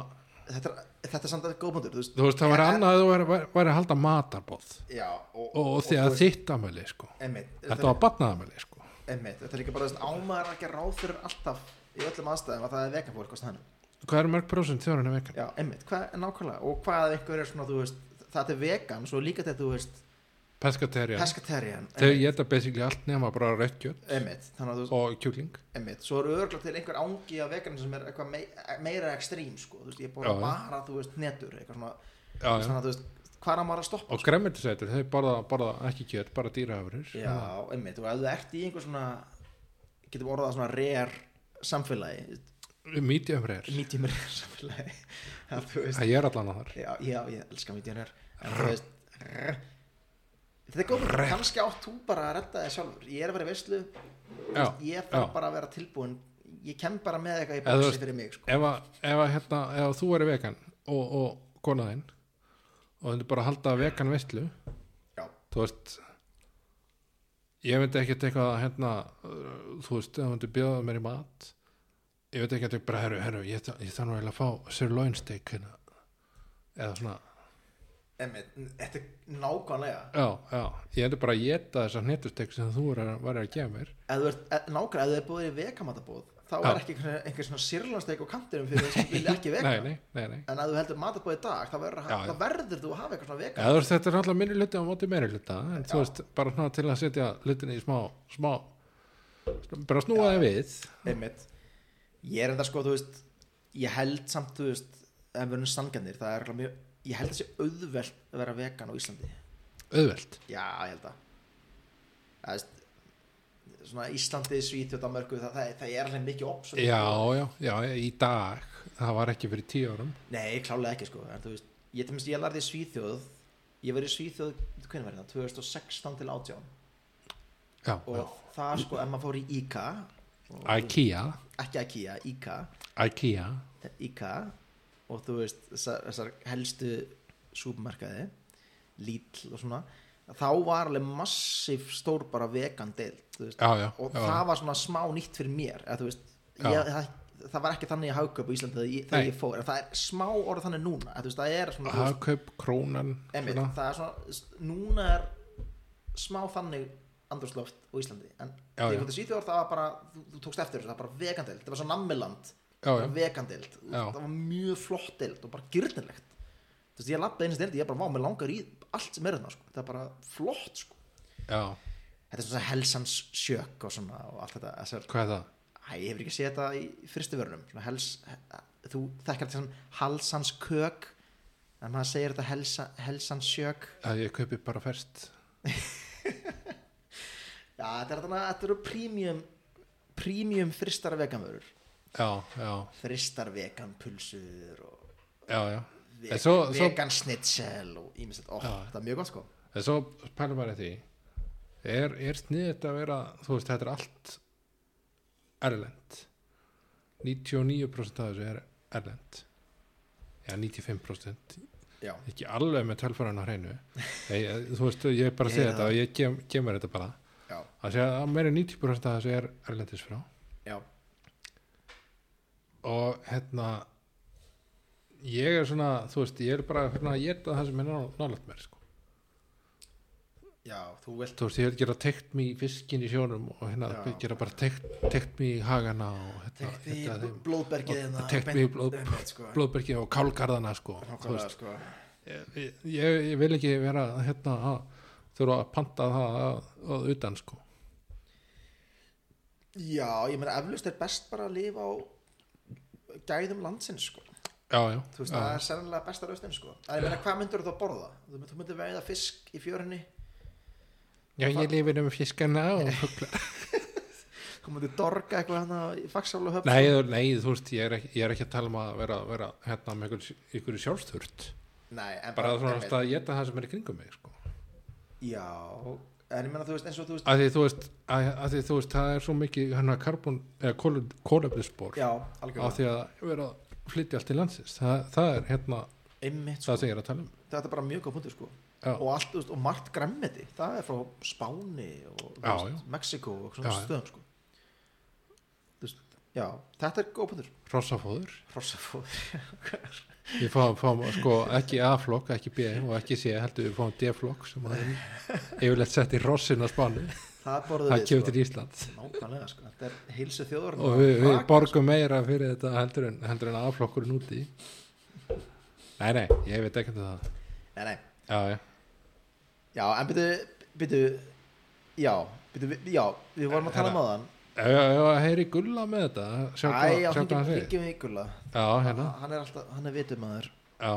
Speaker 2: þetta er, þetta er samt að góða punktur þú veist,
Speaker 1: þú veist, það væri
Speaker 2: Ég-
Speaker 1: annað að þú væri, væri- væri að halda matarboð
Speaker 2: já, og,
Speaker 1: og, og því
Speaker 2: þú
Speaker 1: að
Speaker 2: veist,
Speaker 1: þitt amæli sko,
Speaker 2: einmitt,
Speaker 1: þetta var batnaðamæli sko
Speaker 2: Einmitt, þetta er líka bara þess að ámaður að gera ráð fyrir alltaf í öllum aðstæðum að það er vegan fólk á staðnum.
Speaker 1: hvað eru mörg prósent þjóðurinn er vegan?
Speaker 2: Já, einmitt, hvað er nákvæmlega og hvað ef einhver er svona, þú veist, það er vegan svo líka þetta, þú veist,
Speaker 1: Pescaterian
Speaker 2: pescatarian
Speaker 1: Þau geta basically allt nema bara rautt kjöt
Speaker 2: einmitt, þannig að þú veist,
Speaker 1: og kjúkling
Speaker 2: einmitt, svo eru örgla til einhver ángi af vegan sem er eitthvað mei, meira ekstrím, sko, þú veist, ég er búin
Speaker 1: Já,
Speaker 2: að
Speaker 1: já.
Speaker 2: bara, þú veist, netur, eitthvað svona,
Speaker 1: já, já.
Speaker 2: þannig að þú veist, hvað er að maður að stoppa?
Speaker 1: og gremmetisætur, þau borða, borða ekki kjöt bara Ah, dýraafurur
Speaker 2: Já, einmitt, og ef þú ert í einhver svona, getum orðað það svona rare samfélagi,
Speaker 1: mítjöfreyr,
Speaker 2: medium rare samfélagi, að þú veist,
Speaker 1: það ég er allan að þar
Speaker 2: já, já, ég elska mídjanur en þú veist rr. þetta er góð, kannski átt þú bara að redda þig sjálfur, ég er að vera í veislu
Speaker 1: Já,
Speaker 2: ég þarf
Speaker 1: já.
Speaker 2: bara að vera tilbúin ég kem bara með eitthvað í
Speaker 1: Eða þú
Speaker 2: bóksi
Speaker 1: veist-
Speaker 2: fyrir mig sko.
Speaker 1: ef, að, ef, að, hérna, ef að þú eru vegan og, og konaðinn og þú bara að halda vegan veistlu
Speaker 2: já,
Speaker 1: þú veist ég veit ekki eitthvað að hérna uh, þú veist, ef þú myndir bjóða mér í mat ég veit ekki að bara herru, herru ég, þa- ég þarf nú eiginlega að fá sirloin steak hérna. eða svona
Speaker 2: emmi, þetta er nákvæmlega
Speaker 1: Já, já, ég endur bara að geta þessar hnetustek sem þú er, var að gefa mér
Speaker 2: ef þú ert, e- nákvæmlega, ef þú er búið í vegamatabóð þá
Speaker 1: Já.
Speaker 2: er ekki einhver, einhver svona sirlansteik á kantinum fyrir þess að vilja ekki vega
Speaker 1: Nei, nei, nei, nei
Speaker 2: en ef þú heldur matabóð í dag þá verður,
Speaker 1: Já, já.
Speaker 2: þá verður þú að hafa eitthvað svona vegan
Speaker 1: Eða, þú veist, Þetta er alltaf minni hluti á móti meiri hluta en þú veist, bara svona til að setja hlutinni í smá, smá bara snúa þeim við
Speaker 2: einmitt ég er enda sko, þú veist ég held samt, þú veist, ef við erum sanganir það er örugglega mjög, ég held þessi auðvelt að vera vegan á Íslandi
Speaker 1: auðvelt
Speaker 2: já, ég held að það veist svona Íslandi, Svíþjóð, Danmarku það, það, það er alveg mikið opp
Speaker 1: Já, já, já, í dag það var ekki fyrir tíu árum
Speaker 2: nei, klálega ekki sko, en þú veist ég, tjumst, ég lærði í Svíþjóð ég var í Svíþjóð, hvernig var það, 2016 til 18
Speaker 1: Já,
Speaker 2: og
Speaker 1: já.
Speaker 2: það sko, ef maður fór í IKA og-
Speaker 1: IKEA
Speaker 2: ekki IKEA, IKA
Speaker 1: IKEA
Speaker 2: IKA og þú veist þessar, þessar helstu súpmarkaði Lidl og svona þá var alveg massíf stór bara vegan deild þú veist.
Speaker 1: Já, já,
Speaker 2: og
Speaker 1: já,
Speaker 2: það var svona smá nýtt fyrir mér eða, þú veist,
Speaker 1: Já.
Speaker 2: ég, það, það var ekki þannig að hauka upp á Íslandi þegar ég, þegar
Speaker 1: Nei.
Speaker 2: ég fór en það er smá orð þannig núna eða, þú veist, það er svona, þú veist,
Speaker 1: Hagkaup, krónan
Speaker 2: emitt,
Speaker 1: svona.
Speaker 2: það er svona núna er smá þannig andrúsloft á Íslandi en
Speaker 1: Já, já.
Speaker 2: þegar ég fór til Svíþjóðar það var bara, þú, þú tókst eftir þessu, það var bara vegan deild það var svo nammiland
Speaker 1: Já, já,
Speaker 2: vegandild,
Speaker 1: Já.
Speaker 2: það var mjög flott dild og bara gyrnilegt þú veist, ég lappaði einu stildi, ég bara, vá, mér langar í allt sem er þarna, sko, það er bara flott sko.
Speaker 1: já,
Speaker 2: þetta er svona helsans sjök og svona og allt þetta, þessar,
Speaker 1: hvað er það?
Speaker 2: æ, ég hefur ekki séð þetta í fyrstu vörunum, svona hels he- þú þekkar þetta sem halsans kök en maður segir þetta helsa, helsans sjök
Speaker 1: Að ég kaupi bara fest
Speaker 2: já, þetta er þarna, þetta eru premium premium fristar veganvörur
Speaker 1: Já, já,
Speaker 2: fristar veganpulsur og
Speaker 1: já, já En
Speaker 2: vegan,
Speaker 1: svo- svo-
Speaker 2: vegan snitsel og ímislegt, ó,
Speaker 1: Já.
Speaker 2: þetta er mjög gott sko
Speaker 1: En svo pælum maður í því er, er sniðið að vera þú veist, þetta er allt erlend 99% af þessu er erlend já, 95%
Speaker 2: Já,
Speaker 1: ekki alveg með tölfæran á hreinu Nei, ég- þú veist, ég er bara að
Speaker 2: Ég
Speaker 1: segja
Speaker 2: er
Speaker 1: þetta og ég kem- kemur þetta bara
Speaker 2: já,
Speaker 1: að segja að meira en 90% af þessu er erlendis frá
Speaker 2: já,
Speaker 1: og hérna ég er svona, þú veist, ég er bara hérna, ég er það sem er nálægt mér sko.
Speaker 2: já, þú vilt
Speaker 1: þú veist, ég vil gera tekt mig í fiskin í sjónum og hérna
Speaker 2: Já.
Speaker 1: gera bara tekt, tekt mig í hagana og hérna,
Speaker 2: tekt í
Speaker 1: hérna þeim
Speaker 2: blóðbergið hérna,
Speaker 1: tekt
Speaker 2: beint-
Speaker 1: mig í blóð-
Speaker 2: einmitt, sko.
Speaker 1: blóðbergi og kálgarðana sko, þú
Speaker 2: Nákvæmlega,
Speaker 1: veist,
Speaker 2: sko.
Speaker 1: ég, ég ég vil ekki vera hérna að þurfa að panta það að, að utan sko
Speaker 2: já, ég meina eflust er best bara að lifa á gæðum landsins sko.
Speaker 1: já, já,
Speaker 2: þú veist,
Speaker 1: já,
Speaker 2: það er sennilega besta lausnin sko. að ég meina, hvað myndur þú að borða? þú myndur, þú myndur veiða fisk í fjörinni
Speaker 1: já, ég lifir um fiskana og fugla
Speaker 2: þú myndur dorga eitthvað hana í fagsálu höfn
Speaker 1: nei, þú- nei, þú veist, ég er, ekki, ég er ekki að tala um að vera, vera hérna með ykkur, ykkur sjálfsþurft
Speaker 2: Nei, en
Speaker 1: bara svona
Speaker 2: einmitt.
Speaker 1: að geta það sem er í kringum mig sko
Speaker 2: já, en ég meina, þú veist, eins og þú veist
Speaker 1: að því þú veist, að, að því, þú veist það er svo mikið hérna karbon eða kólefnisbor
Speaker 2: já,
Speaker 1: á
Speaker 2: algjörlega,
Speaker 1: því að vera að flytja allt til landsins það, það er hérna
Speaker 2: einmitt sko.
Speaker 1: það sem ég er að tala um
Speaker 2: þetta er bara mjög góð punktur sko
Speaker 1: Já.
Speaker 2: og, allt, þú veist, og margt græmmeti, það er frá Spáni og þú
Speaker 1: Já,
Speaker 2: veist, Mexiko og svona
Speaker 1: Já, já.
Speaker 2: stöðum sko Þú veist, já, þetta er góð punktur
Speaker 1: rossafóður
Speaker 2: Hrossafóður,
Speaker 1: við fáum, fáum sko ekki A-flokk, ekki B og ekki C, heldur við fáum D-flokk sem að er yfirleitt sett í rossin á Spáni
Speaker 2: það borðum
Speaker 1: það kemur
Speaker 2: við
Speaker 1: til Ísland
Speaker 2: sko. nákvæmlega sko, þetta er heilsu þjóður
Speaker 1: og við, við borgum meira fyrir þetta heldur en, heldur en A-flokkurinn úti nei, nei, ég veit ekki um það
Speaker 2: nei, nei.
Speaker 1: já, já,
Speaker 2: já, en byrju, byrju já, byrju, já, við vorum að tala um aðan
Speaker 1: já, já, já heyri gulla með þetta Hérna, sjá
Speaker 2: æ,
Speaker 1: hvað
Speaker 2: já,
Speaker 1: sjá hvað
Speaker 2: hringjum
Speaker 1: hann segir
Speaker 2: hringjum í Gulla
Speaker 1: já, hérna
Speaker 2: hann er alltaf, hann er vitum aður
Speaker 1: Já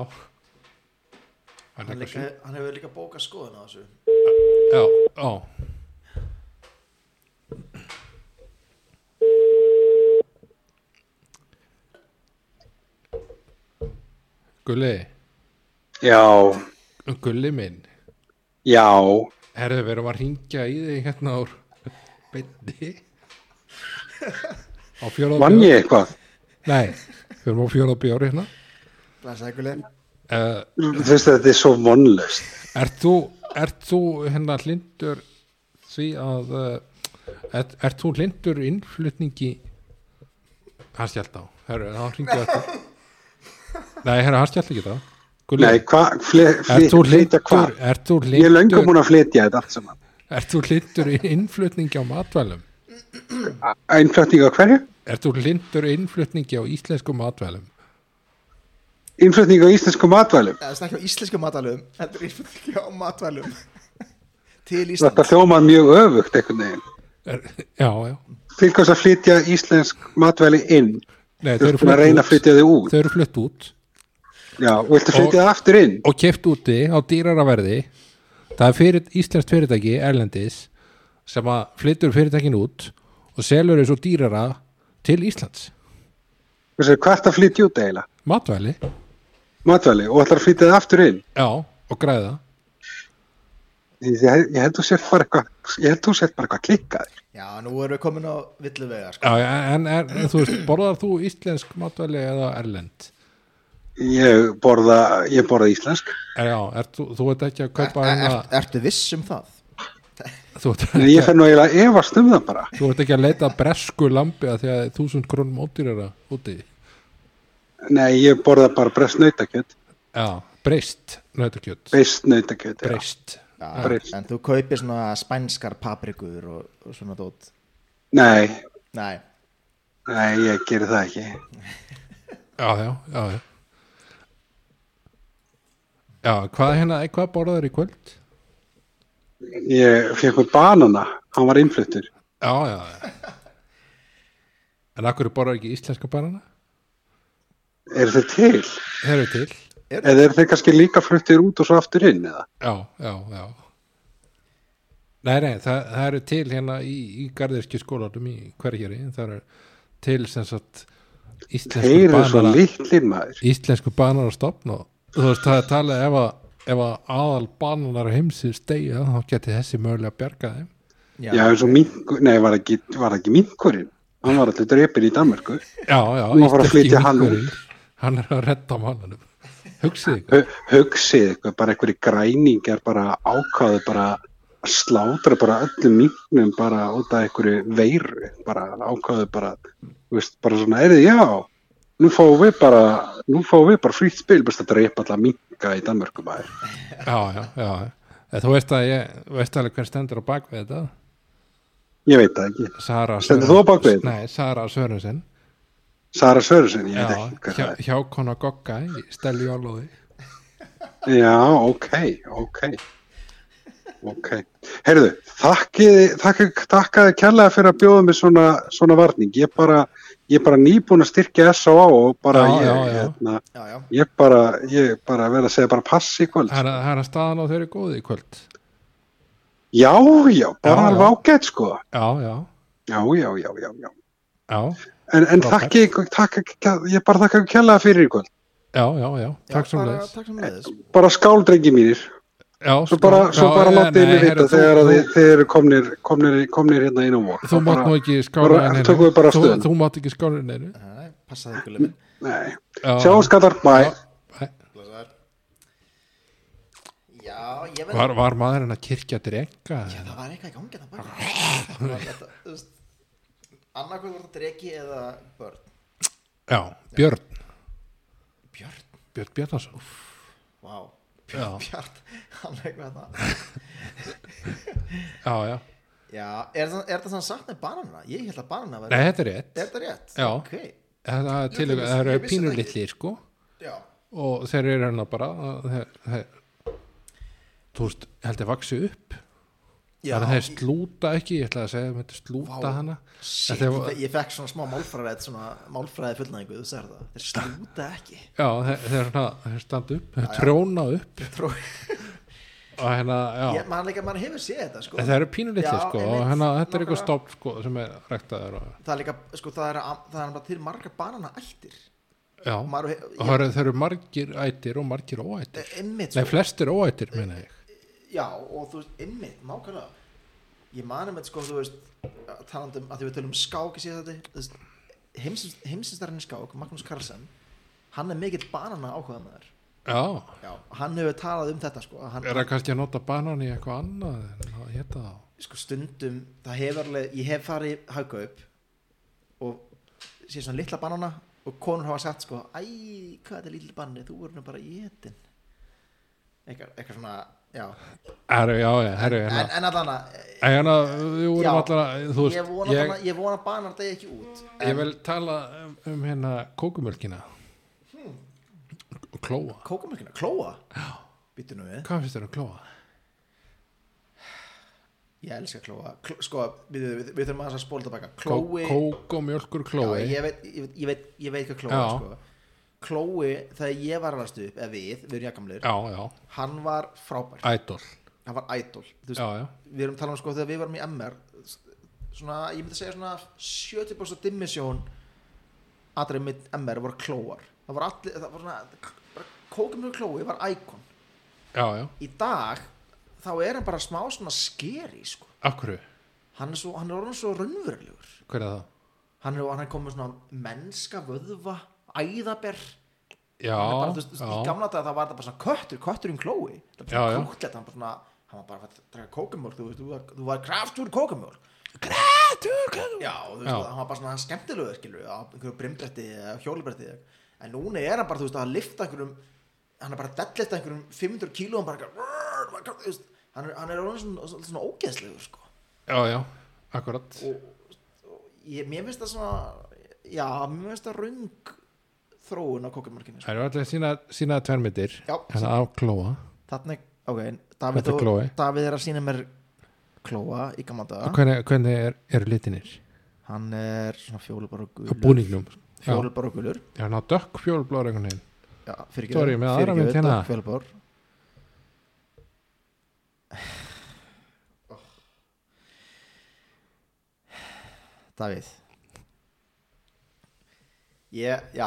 Speaker 1: Hann
Speaker 2: hann,
Speaker 1: er
Speaker 2: líka-
Speaker 1: eitthvað
Speaker 2: hann hefur líka bókað skoðun á þessu
Speaker 1: sjö Já, já Gulli
Speaker 3: Já,
Speaker 1: Gulli minn
Speaker 3: já,
Speaker 1: Herðu, við erum að ringja í þig hérna úr beinni Á fjóra
Speaker 3: vann ég eitthvað?
Speaker 1: Nei, við erum á fjóra bjóri hérna
Speaker 2: blæsaði Gulli
Speaker 1: uh,
Speaker 3: Þú veist að þetta er svo vonlust.
Speaker 1: Ert þú, ert þú hérna hlindur því að uh, ert, ert þú hlindur innflutningi hann skjált á herru, hann hringið eftir nei, herru, hann skjált ekki það Gulli,
Speaker 3: Nei, hvað,
Speaker 1: ert þú
Speaker 3: flytja
Speaker 1: hlindur
Speaker 3: hvað?
Speaker 1: ert þú
Speaker 3: Ég er löngum
Speaker 1: hlindur,
Speaker 3: búin að flytja þetta allt saman.
Speaker 1: ert þú hlindur innflutningi á matvælum
Speaker 3: Einflutning á hverju?
Speaker 1: ert þú hlindur innflutningi á íslenskum matvælum
Speaker 3: Einflutning á íslensku matvælum.
Speaker 2: Það er ekki á íslensku matvælum Þetta er íslensku á matvælum Til
Speaker 3: Þetta
Speaker 2: Íslands
Speaker 3: hljómar mjög öfugt einhvern veginn.
Speaker 1: er, já, já
Speaker 3: Til hvers að flytja íslensk matvæli inn?
Speaker 1: nei,
Speaker 3: Þú ert búin að reyna að flytja þið út.
Speaker 1: þau eru flutt út
Speaker 3: Já, og viltu flytja það aftur inn?
Speaker 1: og keft úti á dýrara verði það er fyrir, íslenskt fyrirtæki erlendis sem að flyttur fyrirtækin út og selur þessu dýrara til Íslands
Speaker 3: Þú veist, hvað ertu að flytja út eiginlega?
Speaker 1: matvæli,
Speaker 3: Matvæli, og ætlar að flytja það aftur inn?
Speaker 1: já, og græða
Speaker 3: Ég, ég held þú sért bara eitthvað, ég held þú sért bara eitthvað klikkaður.
Speaker 2: Já, nú erum við komin á villu vegar sko.
Speaker 1: já, en, en, en þú veist, borðar þú íslensk matvæli eða erlend
Speaker 3: Ég borða, ég borða íslensk.
Speaker 1: er, Eh, já, er, þú, þú ert ekki að kaupa
Speaker 2: er,
Speaker 1: hérna,
Speaker 2: er, Ertu viss um það?
Speaker 1: þú, ert
Speaker 3: Eh, Nei,
Speaker 1: ekki,
Speaker 3: ég fer nú eiginlega að efast um það bara.
Speaker 1: þú ert ekki að leita að bresku lambi að því að þúsund krónum ódýrara úti
Speaker 3: Nei, ég borða bara breyst nautakjöt.
Speaker 1: já, breyst, nautakjöt
Speaker 3: Breyst nautakjöt, já.
Speaker 1: breyst,
Speaker 3: Breyst.
Speaker 2: En þú kaupir svona spænskar paprikur og, og svona dót
Speaker 3: Nei,
Speaker 2: Nei,
Speaker 3: nei, ég geri það ekki.
Speaker 1: já, já, já, já. Já, hvað hérna, hvað borðar í kvöld?
Speaker 3: Ég fekk með banana, hann var innfluttur.
Speaker 1: Já, já, já. En akkur borðar ekki íslenska banana?
Speaker 3: Er þeir til?
Speaker 1: Þeir eru til.
Speaker 3: Eða er þeir kannski líka fluttir út og svo aftur inn, eða?
Speaker 1: Já, já, já. Nei, nei, það, það eru til hérna í, í garðirski skólanum í hverjari. Það eru til sem sagt íslensku
Speaker 3: Þeir eru svo
Speaker 1: banana,
Speaker 3: litlir maður.
Speaker 1: íslensku banana stopn og þú veist, það er talað ef að, ef að aðal bananar heimsins deyja, þá geti þessi mögulega að bjarga þeim.
Speaker 2: já,
Speaker 3: Já, eins og minkur, nei, var ekki, var ekki minkurinn. Hann var alltaf drepin í Danmarku.
Speaker 1: já, já,
Speaker 3: Nú að fara að
Speaker 1: íslenski
Speaker 3: flytja hann
Speaker 1: minkurinn. hann er að redda mannanum hugsið ykkur
Speaker 3: Hu- Hugsið eitthvað, bara einhverju græningar bara ákvaðu bara að slátra bara öllum minknum bara út af einhverju veiru, bara ákvaðu bara, þú veist, bara svona, er þið, já, nú fáum við bara, nú fáum við bara frýtt spil, bara að drepa alla minka í Danmörku maður.
Speaker 1: já, já, já, Eða Þú veist að ég, veist alveg hver stendur á bakvið þetta
Speaker 3: ég veit það ekki
Speaker 1: Sara
Speaker 3: Stendur þú á bak við þetta?
Speaker 1: Nei, Sara Sörensen
Speaker 3: Sara Sörursen, ég
Speaker 1: Já,
Speaker 3: veit ekki hvað
Speaker 1: hjá,
Speaker 3: það
Speaker 1: hjá kona Gogga í Stelju Álóði
Speaker 3: er já, ok, ok ok heyrðu, þakkiði þakki- þakkaði kærlega fyrir að bjóða mig svona, svona varning, ég bara ég bara nýbúin að styrkja S.O.A. og bara
Speaker 1: Já,
Speaker 3: ég,
Speaker 1: já, já.
Speaker 3: Hérna,
Speaker 2: já, já,
Speaker 3: ég bara, ég bara verð að segja bara pass í kvöld
Speaker 1: Það er að- það er að staðan á þeirri góði í kvöld
Speaker 3: já, já,
Speaker 1: Já, já.
Speaker 3: bara alveg ágætt sko
Speaker 1: Já, já,
Speaker 3: já, já, já, já, já
Speaker 1: já,
Speaker 3: en, en
Speaker 1: Frábært.
Speaker 3: þakki, ykkur- þakka, ég bara þakka ykkur kærlega fyrir í kvöld
Speaker 1: já, já, já Takk
Speaker 2: já,
Speaker 1: svo
Speaker 2: bara-
Speaker 1: leðis
Speaker 2: takk sem leiðis
Speaker 3: bara skál drengi mínir
Speaker 1: sko.
Speaker 3: svo bara, svo bara látið mig vita þegar að þið, þið eru komnir, komnir, komnir hérna inn á vor
Speaker 1: Þú mátt nú ekki skára
Speaker 3: bara-
Speaker 1: henni
Speaker 3: tökum við bara
Speaker 1: Þú,
Speaker 3: afstöðuna.
Speaker 1: þú mátt ekki skára henni
Speaker 2: Nei, passaði ykkur lemmin
Speaker 3: nei, sjáum skattar, bye
Speaker 2: já, ég verð
Speaker 1: Var, var maðurinn að kirkja drenga?
Speaker 2: Já, það var eitthvað í gangi það bara annarkvæð var það dregi eða börn
Speaker 1: Já, Björn
Speaker 2: Björn,
Speaker 1: Björn Bjarnason
Speaker 2: vá
Speaker 1: Já.
Speaker 2: Björn, Björn, hann er eitthvað það
Speaker 1: Já, já
Speaker 2: Já, er það, er það sann sagt með bananina? Ég held að bananina væri
Speaker 1: Nei, þetta er rétt
Speaker 2: Er það rétt?
Speaker 1: Já.
Speaker 2: Ok,
Speaker 1: Það er til-
Speaker 2: Ég vissi-
Speaker 1: það eru
Speaker 2: ég vissi það ekki.
Speaker 1: pínulitlir sko
Speaker 2: já
Speaker 1: og þeir eru hérna bara þeir, þeir, þú veist, held ég vaksi upp
Speaker 2: Já,
Speaker 1: þannig að þeir slúta ekki, ég ætla að segja þetta slúta
Speaker 2: Vá.
Speaker 1: hana
Speaker 2: shit,
Speaker 1: Þetta var-
Speaker 2: ég, ég fekk svona smá málfræðið svona málfræðið fullnæðingu, þú sér það Þeir slúta ekki
Speaker 1: já, þeir, þeir, svona, þeir standa upp, þeir tróna upp
Speaker 2: Tró,
Speaker 1: og hérna, já,
Speaker 2: ég, man, leika, man hefur séð þetta sko
Speaker 1: En þeir eru pínulitlir
Speaker 2: Já,
Speaker 1: sko
Speaker 2: einmitt,
Speaker 1: og hérna, þetta er eitthvað
Speaker 2: nákvæmlega.
Speaker 1: stofn sko sem er rektaður og,
Speaker 2: Það er líka, sko, það er, það er bara til margar banana ættir
Speaker 1: já,
Speaker 2: Og
Speaker 1: og
Speaker 2: maður,
Speaker 1: það eru, þeir eru margir ættir og margir óættir,
Speaker 2: ég, einmitt,
Speaker 1: nei flestir óættir meina ég,
Speaker 2: Já, og þú veist, ymmið, nákvæmlega Ég mani með, sko, þú veist talandum að því við tölum um skák í síðan þetta heimsinstarinn í skák, Magnús Carlsen hann er mikill banana áhugað með þær
Speaker 1: já
Speaker 2: Já, hann hefur talað um þetta, sko að hann,
Speaker 1: er það kannski að nota banan í eitthvað annað en að hétta þá
Speaker 2: sko, stundum, það hefur alveg ég hef farið í hagkaup og sé svona litla banana og konur hafa sagt, sko, æ hvað er þetta lítið banni, þú voru nú bara í etin eitthvað, eitthvað svona já,
Speaker 1: Herru, já, já, herru,
Speaker 2: en,
Speaker 1: hérna
Speaker 2: en allan að
Speaker 1: En hérna, við vorum
Speaker 2: Já.
Speaker 1: allan þú
Speaker 2: ég
Speaker 1: veist,
Speaker 2: vona,
Speaker 1: ég,
Speaker 2: ég, ég vona að banar degi ekki út
Speaker 1: ég vil tala um, um hérna kókumölkina og klóa.
Speaker 2: kókamölkina, klóa býttu nú við,
Speaker 1: Hvað finnst þér um klóa?
Speaker 2: ég elska klóa Kl sko, við, við, við þurfum aðeins að spóla tilbaka
Speaker 1: Kó,
Speaker 2: klói,
Speaker 1: kók og mjölkur klói.
Speaker 2: Já, ég, veit, ég, veit, ég, veit, ég veit hvað klóa
Speaker 1: Já.
Speaker 2: er, sko. klói, þegar ég var alveg stuð eða við, við erum jakamlir
Speaker 1: já, já,
Speaker 2: hann var frábær,
Speaker 1: ædol.
Speaker 2: hann var idol Þú veist,
Speaker 1: Já, já,
Speaker 2: við erum talað um sko þegar við varum í MR svona, ég myndi segja svona 70% dimmisjón aðrið mitt MR voru klóar það voru allir, það voru svona kókumölkina klói var íkon
Speaker 1: já, já.
Speaker 2: í dag þá er hann bara smá svona skeri sko.
Speaker 1: Af hverju?
Speaker 2: hann, er svo, hann er orðin svo raunverulegur
Speaker 1: Hver er það?
Speaker 2: hann er, hann er komið svona mennska vöðva æðaber
Speaker 1: Já,
Speaker 2: Hann er bara, þú veist, þú veist, í
Speaker 1: já,
Speaker 2: gamla dag það var það bara svona köttur kötturinn klói það var
Speaker 1: Já, já.
Speaker 2: bara kóklet hann, bara svona, hann var bara að draga kókumjólk þú, veist, þú, var, þú var kraftur kókumjólk kraftur kókumjólk já, og þú veist,
Speaker 1: Já.
Speaker 2: hann var bara svona skemmtilegur skilur, á einhverju brimbretti eða hjólibretti en núna er hann bara, þú veist, að lifta einhverjum hann er bara að dellista einhverjum 500 kíló hann bara, eitthvað, þú veist, hann er, hann er orðinn svona, svona, svona ógeðslegur sko.
Speaker 1: já, já, akkurat.
Speaker 2: ég, mér finnst það svona já, mér finnst það röng þróun á kókumjólkinni sko.
Speaker 1: Það eru allir sína, sína tvermitir,
Speaker 2: Já.
Speaker 1: hérna af klóa.
Speaker 2: Þannig, ok, Davíð,
Speaker 1: Þetta er Chloe.
Speaker 2: og, Davíð er að sína mér klóa í gamla daga
Speaker 1: Hvernig, hvernig er, eru litinir?
Speaker 2: Hann er svona fjólubar og
Speaker 1: Á
Speaker 2: gulur
Speaker 1: búningnum. Já,
Speaker 2: Fjólubar og gulur
Speaker 1: já, ná, dökk fjólblóður einhvern veginn.
Speaker 2: Já, fyrir
Speaker 1: Sorry, með aðra mynd hérna.
Speaker 2: Fjólubar Oh. Davíð Ég, já,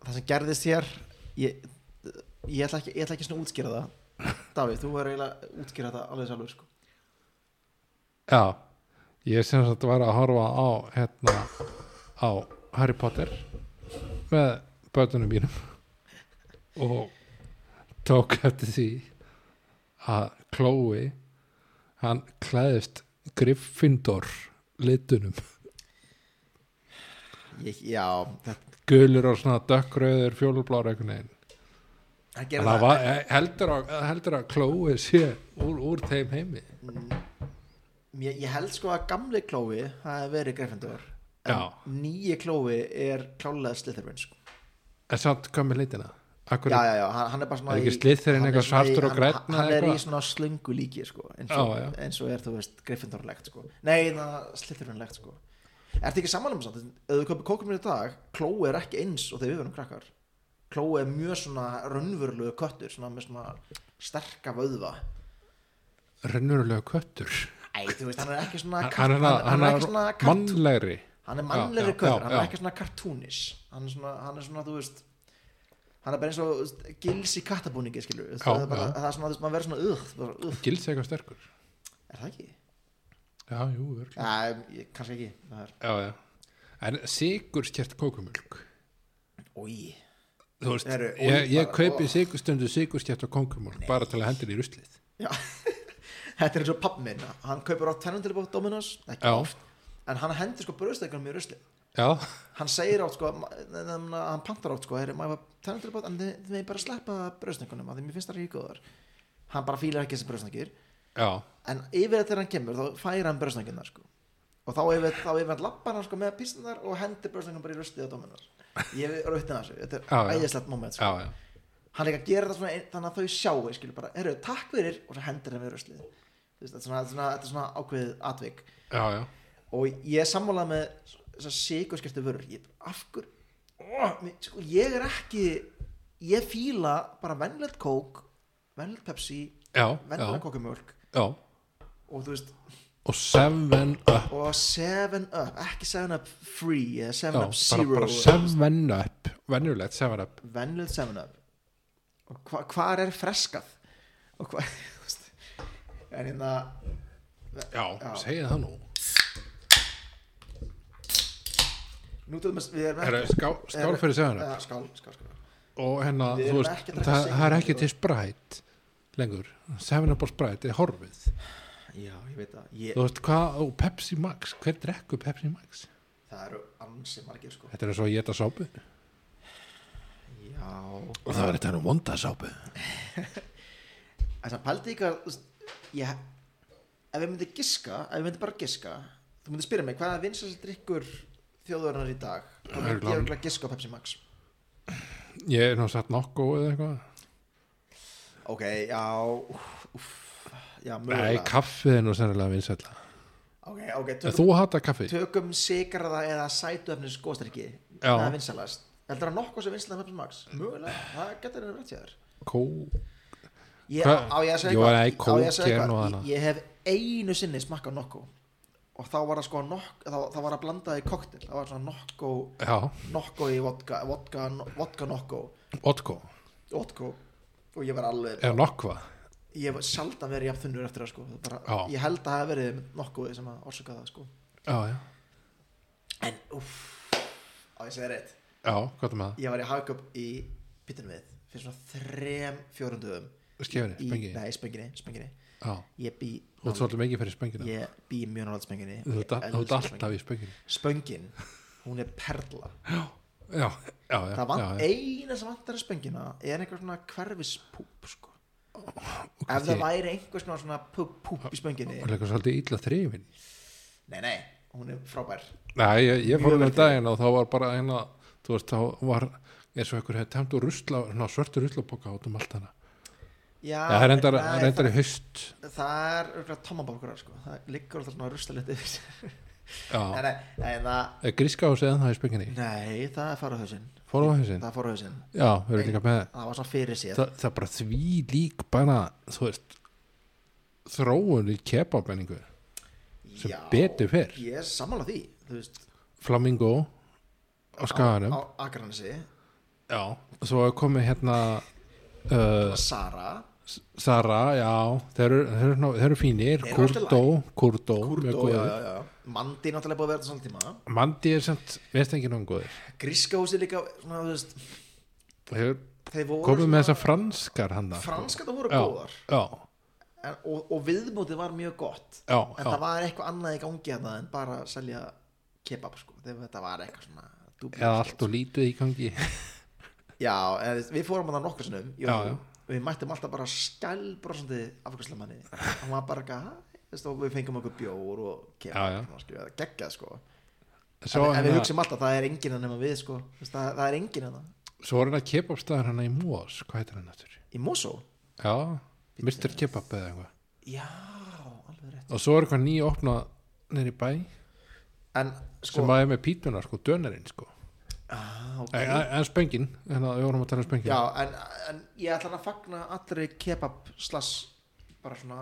Speaker 2: það sem gerðist hér Ég, ég, ætla, ekki, ég ætla ekki svona að útskýra það Davíð, þú verður eiginlega að útskýra það alveg sjálfur sko
Speaker 1: Já, ég sem sagt var að horfa á hérna á Harry Potter með börnunum mínum og tók eftir því að Chloe hann klæðist Gryffindor litunum
Speaker 2: Ég, já, þetta,
Speaker 1: gulur og svona dökkröður fjólublára einhvern veginn
Speaker 2: hann
Speaker 1: En
Speaker 2: gerði
Speaker 1: það
Speaker 2: það,
Speaker 1: var, eh, heldur, að, heldur að klói sé úr, úr þeim heimi
Speaker 2: Ég, ég held sko að gamli klófi hafi verið Gryffindor en
Speaker 1: Já.
Speaker 2: nýji klófi er klálega Slytherin sko.
Speaker 1: en samt komið leitina Akkur,
Speaker 2: já, já, já, hann, hann er bara svona
Speaker 1: Er ekki
Speaker 2: í-
Speaker 1: Slytherin
Speaker 2: hann er
Speaker 1: eitthvað
Speaker 2: svona í-
Speaker 1: svartur og
Speaker 2: hann-
Speaker 1: grænn
Speaker 2: hann
Speaker 1: eða
Speaker 2: er í
Speaker 1: eitthvað?
Speaker 2: svona slöngu líki sko, eins,
Speaker 1: Já,
Speaker 2: og,
Speaker 1: já.
Speaker 2: eins og er þú veist Gryffindorlegt sko. nei, það Slytherinlegt sko. ertu ekki samanlega um samt ef þú köpir kókum í dag, klói er ekki eins og þegar við verum krakkar klói er mjög svona raunverulegu köttur svona með svona sterka vöðva
Speaker 1: rennurulega köttur
Speaker 2: Æ, þú veist, hann er ekki svona
Speaker 1: Hann- hann
Speaker 2: kart-
Speaker 1: er, hann, hann
Speaker 2: ekki svona
Speaker 1: er
Speaker 2: kart-
Speaker 1: mannlegri
Speaker 2: hann er
Speaker 1: Já,
Speaker 2: mannlegri
Speaker 1: já,
Speaker 2: köttur,
Speaker 1: já,
Speaker 2: hann er
Speaker 1: já.
Speaker 2: ekki svona kartúnis hann er svona, hann er svona, þú veist hann er bara eins og þú veist, gils í kattabúningi skilur, já, það,
Speaker 1: Já,
Speaker 2: er bara,
Speaker 1: já.
Speaker 2: það er svona, þú veist, maður verður svona "Ugh", bara, "Ugh",
Speaker 1: gils eitthvað sterkur
Speaker 2: er það ekki?
Speaker 1: já, jú, örugglega.
Speaker 2: Ja, ég, kannski ekki það er,
Speaker 1: já, já. en sigur skert kókumjölk
Speaker 2: ói,
Speaker 1: þú veist,
Speaker 2: Eru-
Speaker 1: ég, ég
Speaker 2: bara-
Speaker 1: kaupi sigur, stundu sigur skert og kókumjölk bara til að hendur í ruslið
Speaker 2: já þetta er eins og pappi minn, hann kaupir á tennum til bótt Dominos, ekki
Speaker 1: Já.
Speaker 2: oft en hann hendur sko bröðstekunum í rusli
Speaker 1: já,
Speaker 2: hann segir átt sko, ma- ne- ne- ne- hann pantar átt sko, er maður tennum til bótt en þið þið megið bara sleppa bröðstekunum að því mér finnst það ekki góðar hann bara fílar ekki þessi bröðstekir
Speaker 1: já,
Speaker 2: en yfir þegar hann kemur þá fær hann bröðsnögginnar sko. og þá yfir, þá yfir hann lappar hann sko, með písnar og hendir bröðsnögginn bara í rustið á dóminar ég er auðvitað þessu, þetta
Speaker 1: Já,
Speaker 2: er
Speaker 1: já.
Speaker 2: æðislegt moment
Speaker 1: já,
Speaker 2: sko.
Speaker 1: já
Speaker 2: hann líka gerir þetta svona ein- þannig að þau sjáu skilur bara, eru takk fyrir og svo hendir hann við ruslið Þú veist, þetta er svona, þetta er svona, þetta er svona ákveðið atvik
Speaker 1: já, já,
Speaker 2: og ég er sammálað með þessar sigurskiptu vörur ég, af hver oh, mér- sko, ég er ekki ég fíla bara vennlegt kók vennlegt pepsi,
Speaker 1: já, já,
Speaker 2: vennlegt kókumjólk
Speaker 1: já.
Speaker 2: og þú veist,
Speaker 1: og seven up
Speaker 2: og 7 up, ekki 7 up free eða
Speaker 1: já,
Speaker 2: 7 up
Speaker 1: bara,
Speaker 2: zero
Speaker 1: bara seven up venjulegt seven up
Speaker 2: venlöð 7 up og hva, hvar er freskað og hvað en hérna
Speaker 1: já,
Speaker 2: Já.
Speaker 1: segið það nú
Speaker 2: nú til dæmis við erum
Speaker 1: Herra, skál, skál fyrir seven up
Speaker 2: ja, skál, skál, skál.
Speaker 1: og hérna,
Speaker 2: Við
Speaker 1: þú
Speaker 2: erum
Speaker 1: veist,
Speaker 2: ekki að drekka
Speaker 1: það,
Speaker 2: Seven
Speaker 1: það er
Speaker 2: Up,
Speaker 1: ekki
Speaker 2: sko.
Speaker 1: til sprætt lengur, 7up og sprætt er horfið,
Speaker 2: já, ég veit það ég,
Speaker 1: þú veist hvað og Pepsi Max, hver drekku Pepsi Max
Speaker 2: það eru ansi margir sko
Speaker 1: þetta er svo að geta sápu og
Speaker 2: já,
Speaker 1: það var þetta nú vonda sápu
Speaker 2: þess að pældi ykkar þú veist, ég, ef ég myndi giska ef ég myndi bara giska þú myndi spyrja mig hvað er vinsast drikkur þjóðurinnar í dag þá myndi
Speaker 1: Örugglega-
Speaker 2: ég örugglega giska á Pepsi Max
Speaker 1: ég er nú satt nokku eða eitthvað
Speaker 2: Ok, já úff, úff, Já,
Speaker 1: nei,
Speaker 2: mögulega
Speaker 1: kaffið er nú sennilega vinsætla
Speaker 2: Ok, ok, tökum,
Speaker 1: þú hata kaffi,
Speaker 2: tökum sigraða eða sætuöfnis góðstyrki
Speaker 1: Já.
Speaker 2: Það er vinsalast Heldur það nokkuð sem vinsalast með Pepsi Max? Mögulega, það getur þeirra rétt hjá þér
Speaker 1: kó
Speaker 2: Ég,
Speaker 1: Hvað?
Speaker 2: á ég að segja
Speaker 1: Jú,
Speaker 2: eitthvað?
Speaker 1: nei,
Speaker 2: Á ég að
Speaker 1: kók er nú
Speaker 2: segja eitthvað?
Speaker 1: annað.
Speaker 2: Ég, ég hef einu sinni smakkað nokkuð og þá var það sko nokk þá, þá var það blandað í koktel það var svona nokko
Speaker 1: já,
Speaker 2: nokko í vodka vodka, vodka nokko
Speaker 1: otko
Speaker 2: vodka og ég var alveg
Speaker 1: eða nokkva,
Speaker 2: ég var sjaldan verið jafn þunnur eftir það sko Það bara,
Speaker 1: Já.
Speaker 2: ég held að það hafi verið nokkuð sem að orsaka það sko
Speaker 1: já, já
Speaker 2: En, uff, á ég segi rétt
Speaker 1: já, hvað er með
Speaker 2: Ég var í hagköp í pittunum við Fyrir svona þrem, fjórum dögum
Speaker 1: það skefri,
Speaker 2: í,
Speaker 1: spengi,
Speaker 2: Nei, spenginni, spenginni
Speaker 1: já
Speaker 2: Ég bý,
Speaker 1: þú ert svolítið mikið fyrir spengina
Speaker 2: ég bý mjög nálega spenginni
Speaker 1: þú ert all- þú ert alltaf í spengina
Speaker 2: Spöngin, hún er perla
Speaker 1: já, já, já,
Speaker 2: Það vant,
Speaker 1: já, já.
Speaker 2: eina sem vantar að spöngina Er einhver svona hverfispúp sko. Ef það
Speaker 1: ég-
Speaker 2: væri einhver svona, svona púp, púp í spönginni
Speaker 1: Það er eitthvað svolítið illa þrifin
Speaker 2: Nei, nei, hún er frábær
Speaker 1: Nei, ég, ég
Speaker 2: Mjög
Speaker 1: fór um
Speaker 2: vel
Speaker 1: daginn og þá var bara eina þú veist, þá var eins og einhver hefði tæmt úr rusla, ná, svörtu ruslapoka út um allt hana
Speaker 2: Ah, Já,
Speaker 1: Já, það er reyndar,
Speaker 2: nei,
Speaker 1: reyndar í haust
Speaker 2: það, það er örugglega tommabokkurar sko. Það liggur alltaf svona rustalit yfir sér Nei,
Speaker 1: Já,
Speaker 2: nei, nei, það,
Speaker 1: er gríska hús eða það í spenginni
Speaker 2: nei, það er farahauðsinn
Speaker 1: Fór á hausinn?
Speaker 2: Það er farahauðsinn
Speaker 1: Já, við erum líka með
Speaker 2: Það var svona fyrir sér
Speaker 1: Þa, Það er bara því lík bara, þú veist þróun í kebabenningu sem
Speaker 2: Já,
Speaker 1: betur fer.
Speaker 2: Ég er sammála því Þú veist
Speaker 1: Flamingo á skaganum
Speaker 2: Á Akranesi
Speaker 1: Já, svo er komið hérna uh,
Speaker 2: Sara
Speaker 1: Sara, já þeir eru, þeir eru, ná- þeir eru fínir
Speaker 2: Þeir eru alltaf
Speaker 1: Kurdo, Kurdo, mjög
Speaker 2: Kurdo, já,
Speaker 1: góður
Speaker 2: já, já Mandi náttúrulega búið að vera þetta svona tíma
Speaker 1: Mandi er samt, veist ekki náum góður
Speaker 2: Gríska húsi líka Svona, þú veist
Speaker 1: Hefur
Speaker 2: Þeir voru
Speaker 1: komið með þessar franskar hann
Speaker 2: Franska það voru
Speaker 1: já,
Speaker 2: góðar
Speaker 1: já,
Speaker 2: en, og, og viðmótið var mjög gott
Speaker 1: já,
Speaker 2: En
Speaker 1: já,
Speaker 2: það var eitthvað annað í gangi hérna En bara að selja kebab sko Þegar þetta var eitthvað svona dúbli-
Speaker 1: eða allt og lítið í gangi
Speaker 2: já, en þú veist, við fórum að það nokkur sinnum jú,
Speaker 1: Já, já.
Speaker 2: og við mættum alltaf bara skælbrosandi afgjörslemanni hann var bara eitthvað, hæ, veist, og við fengum okkur bjór og
Speaker 1: Já, já.
Speaker 2: kemur, svona, skilja, geggjað sko
Speaker 1: svo
Speaker 2: en, en við
Speaker 1: hérna-
Speaker 2: hugsim alltaf, það er enginn hann nema við sko, veist, það, það er enginn hérna. hann
Speaker 1: Svo var hann að kebabstaðar hann í Mós, hvað heitir hann aftur?
Speaker 2: í Mosó,
Speaker 1: Já, Mr. Kebab eða eitthvað
Speaker 2: já, alveg rétt
Speaker 1: Og svo er eitthvað nýja opna nýri bæ
Speaker 2: en
Speaker 1: sem
Speaker 2: sko,
Speaker 1: að er með pítunar, sko, dönerinn, sko
Speaker 2: ah, ok.
Speaker 1: En, en spöngin, en að við vorum að tala um spöngin
Speaker 2: já, en, en ég ætla að fagna allri kebab slass bara svona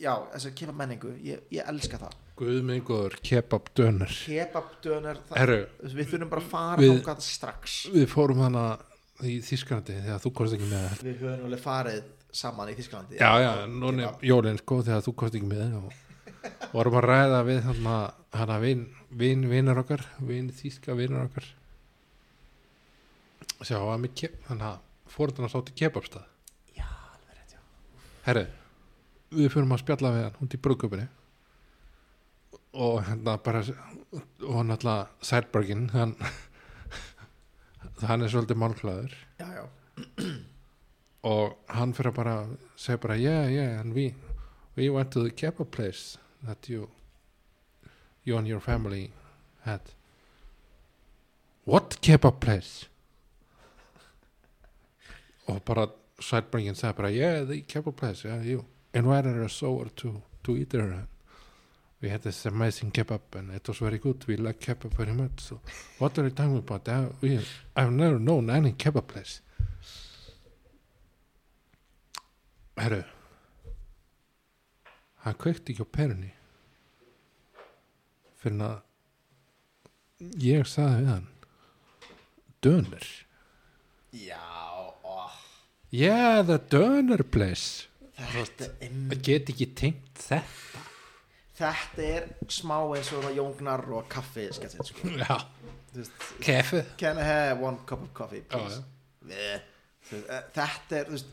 Speaker 2: já, þessi kebab menningu, ég, ég elska það
Speaker 1: Guðmengur, kebab, döner
Speaker 2: kebab dönar,
Speaker 1: Herru,
Speaker 2: við þurfum bara að fara
Speaker 1: Við-
Speaker 2: við, strax
Speaker 1: við fórum hann að í Þískarandi þegar þú komst ekki með
Speaker 2: við höfum alveg farið saman í Þísklandi
Speaker 1: Já, já, núna er jólinn, sko, þegar þú komst ekki með og vorum að ræða við hann að hann að vin, vin, vinar okkar vin, þýska vinar okkar Sjá, hann með keb, hann að fórðan að sátti kebabstað
Speaker 2: já alveg rétt, já
Speaker 1: Herri, við fyrum að spjalla við hann hundi í brúðköpunni og hérna bara og hann alltaf Sætbergin hann, hann er svolítið málklaður
Speaker 2: já, já,
Speaker 1: og hann fyrir að bara segja bara yeah, yeah, and we we went to the kebab place that you you and your family had what kebab place og bara sætbringin segja bara yeah, the kebab place, yeah, you invited us over to, to eat there and we had this amazing kebab and it was very good, we like kebab very much so what are you talking about I, we, I've never known any kebab place Herru Hann kveikti ekki á perunni fyrir að ég sagði við hann Döner
Speaker 2: já oh, ó,
Speaker 1: Yeah, the döner place
Speaker 2: þetta, em,
Speaker 1: Það get ekki tengt þetta
Speaker 2: þetta er smá eins og það jóngnar og kaffi skettin, sko.
Speaker 1: Já,
Speaker 2: Þú veist,
Speaker 1: kefi
Speaker 2: can I have one cup of coffee please
Speaker 1: Já,
Speaker 2: Bleh. Þú veist, eh, þetta er þú veist,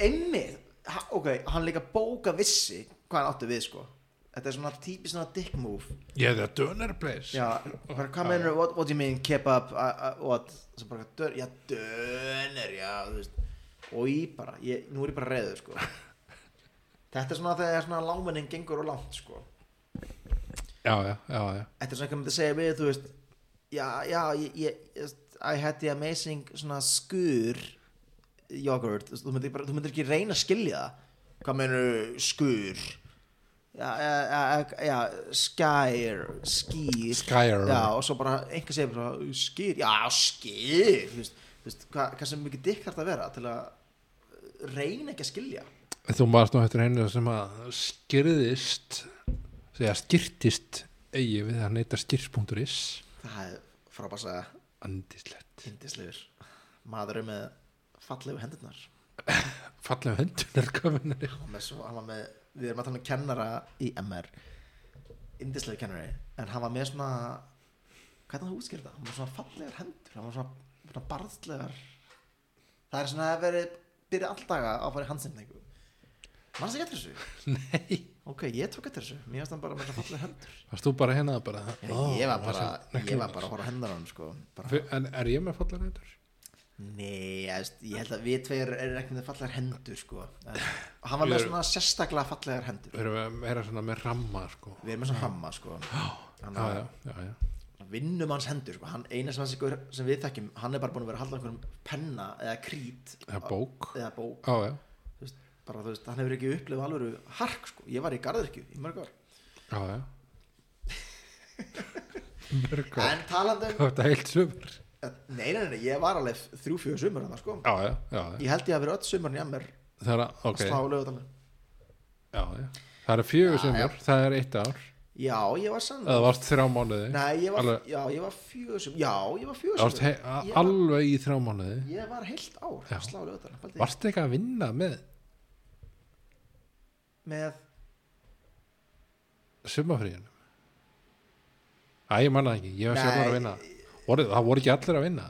Speaker 2: einmið, ha- ok, hann líka bóka vissi hvað hann átti við sko þetta er svona típist svona dick move
Speaker 1: Yeah, the döner place
Speaker 2: Já, bara hvað mennur, what, what do you mean, kebab, uh, uh, what, sem bara, dör, já, döner, já, þú veist, og ég bara, ég, nú er ég bara reyður, sko. Þetta er svona þegar svona lámennin gengur og langt, sko.
Speaker 1: já, já, já, já.
Speaker 2: Þetta er svona eitthvað myndi segja við, þú veist, já, já, ég, ég, þú veist, I had the amazing svona skur yoghurt, þú veist, þú myndir, bara, þú myndir ekki reyna að skilja það. Hvað mennur skur? Já, já, já, já, skær, skýr.
Speaker 1: Skyer
Speaker 2: Já, og svo bara einhver segir bara, skýr, já, skýr þú veist, þú veist hvað, hvað sem mikið dikk þarf að vera til að reyna ekki að skilja
Speaker 1: Þú maður nú eftir einu sem að skyrðist segja skyrtist eigi við að neyta skyrst.is
Speaker 2: það er frábæsa
Speaker 1: Andislegt
Speaker 2: yndislegur maður er með fallegu hendurnar
Speaker 1: Fallega hendunar kominari
Speaker 2: hann, með svo, hann var með, við erum að tala um kennara í MR yndislegur kennari, en hann var með svona hvað er það að útskýra það? hann var svona fallegar hendur, hann var svona, svona barðslegar það er svona að veri byrja alldaga á að fara í handsinningu mannst ekki eftir þessu?
Speaker 1: Nei
Speaker 2: Ok, ég tók eftir þessu, mér finnst hann bara með það fallið hendur
Speaker 1: Varst þú bara hérna bara
Speaker 2: ég,
Speaker 1: ó,
Speaker 2: ég var
Speaker 1: það
Speaker 2: bara,
Speaker 1: sem-
Speaker 2: ég var bara að horfa á hendur á hann sko bara,
Speaker 1: Fyr- En er ég með fallar hendur?
Speaker 2: Nei, ég, veist, ég held að við tveir erum ekki með fallegar hendur sko en, Hann var
Speaker 1: Við
Speaker 2: með
Speaker 1: erum-
Speaker 2: svona sérstaklega fallegar hendur
Speaker 1: Við erum að vera svona með ramma sko
Speaker 2: Við erum með svona hamma sko Hann
Speaker 1: Já,
Speaker 2: var-
Speaker 1: já, já, já
Speaker 2: Vinnum hans hendur sko hann, Eina sem, hans ykkur, sem við þekkjum, hann er bara búin að vera að halda einhverjum penna eða krít
Speaker 1: Það er bók
Speaker 2: eða bók
Speaker 1: Já, já,
Speaker 2: Þú veist, bara, þú veist, Hann hefur ekki upplifað alveg hark sko Ég var í garðirkju í mörg ár
Speaker 1: já, já Mörg
Speaker 2: En talandi um,
Speaker 1: Þetta er heilt sumur
Speaker 2: nei, nei, nei, nei, ég var alveg þrjú, fjögur sumur hann sko
Speaker 1: Já, já, já, já.
Speaker 2: Ég held ég að vera öll sumarn í MR
Speaker 1: Það er að, ok
Speaker 2: að slá lögadalinn
Speaker 1: já, já. Það er fjögur
Speaker 2: Já,
Speaker 1: sumur, það er eitt ár
Speaker 2: Já, ég var sann
Speaker 1: Það varst þrjá mánuði
Speaker 2: Nei, ég var,
Speaker 1: alveg-
Speaker 2: já, ég var fjögusum Já, ég var
Speaker 1: Það varst
Speaker 2: fjögusum
Speaker 1: hei, a-
Speaker 2: Ég var-
Speaker 1: alveg í þrjá mánuði
Speaker 2: Ég var heilt ár
Speaker 1: Já.
Speaker 2: að slá lögadalinn
Speaker 1: Varst ekki að vinna með
Speaker 2: Með,
Speaker 1: sumafríðinu Æ, ég manna ekki, ég var sjálfur að
Speaker 2: Nei.
Speaker 1: vinna voru, Það voru ekki allir að vinna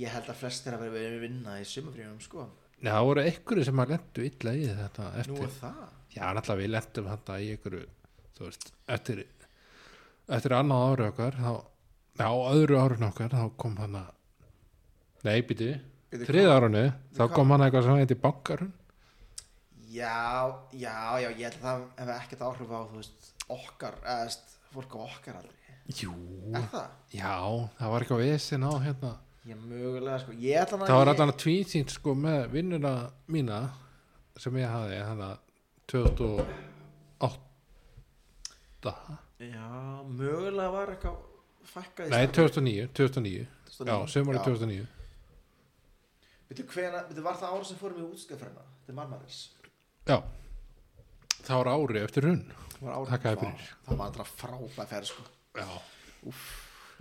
Speaker 2: ég held að flestir að vera verið að vinna í sumafríðunum sko
Speaker 1: Nei, það voru einhverju sem að lendu illa í þetta
Speaker 2: Nú
Speaker 1: eftir,
Speaker 2: er það
Speaker 1: já, náttúrulega við lendum þetta í einhverju, þú veist eftir, eftir annað ára okkar þá, já, á öðru árun okkar þá kom hann að Nei, býti,
Speaker 2: Bíddu,
Speaker 1: þriða árunni þá kom hann eitthvað sem heiti bankarun
Speaker 2: Já, já, já, ég held að það hefði ekkert áhrif á, þú veist, okkar, eða, þú veist, fólk á okkar aldrei.
Speaker 1: Jú
Speaker 2: Er það?
Speaker 1: Já, það var eitthvað vesinn á hérna
Speaker 2: Ég mögulega, sko, ég ætla að
Speaker 1: Það var
Speaker 2: ég...
Speaker 1: allan að tvísýnt sko með vinnuna mína sem ég hafði hann að 2008
Speaker 2: Já, mögulega var eitthvað fækkað í
Speaker 1: Nei, 2009, 2009 Já, sömari 2009
Speaker 2: Veitu, hvena, veitu, var það ára sem fórum í útskjöfrena? Þetta er marmaris.
Speaker 1: Já Það var ári eftir hrun
Speaker 2: Það var ára.
Speaker 1: Þakkaði fyrir.
Speaker 2: Það var alltaf frábæð ferð, sko.
Speaker 1: Já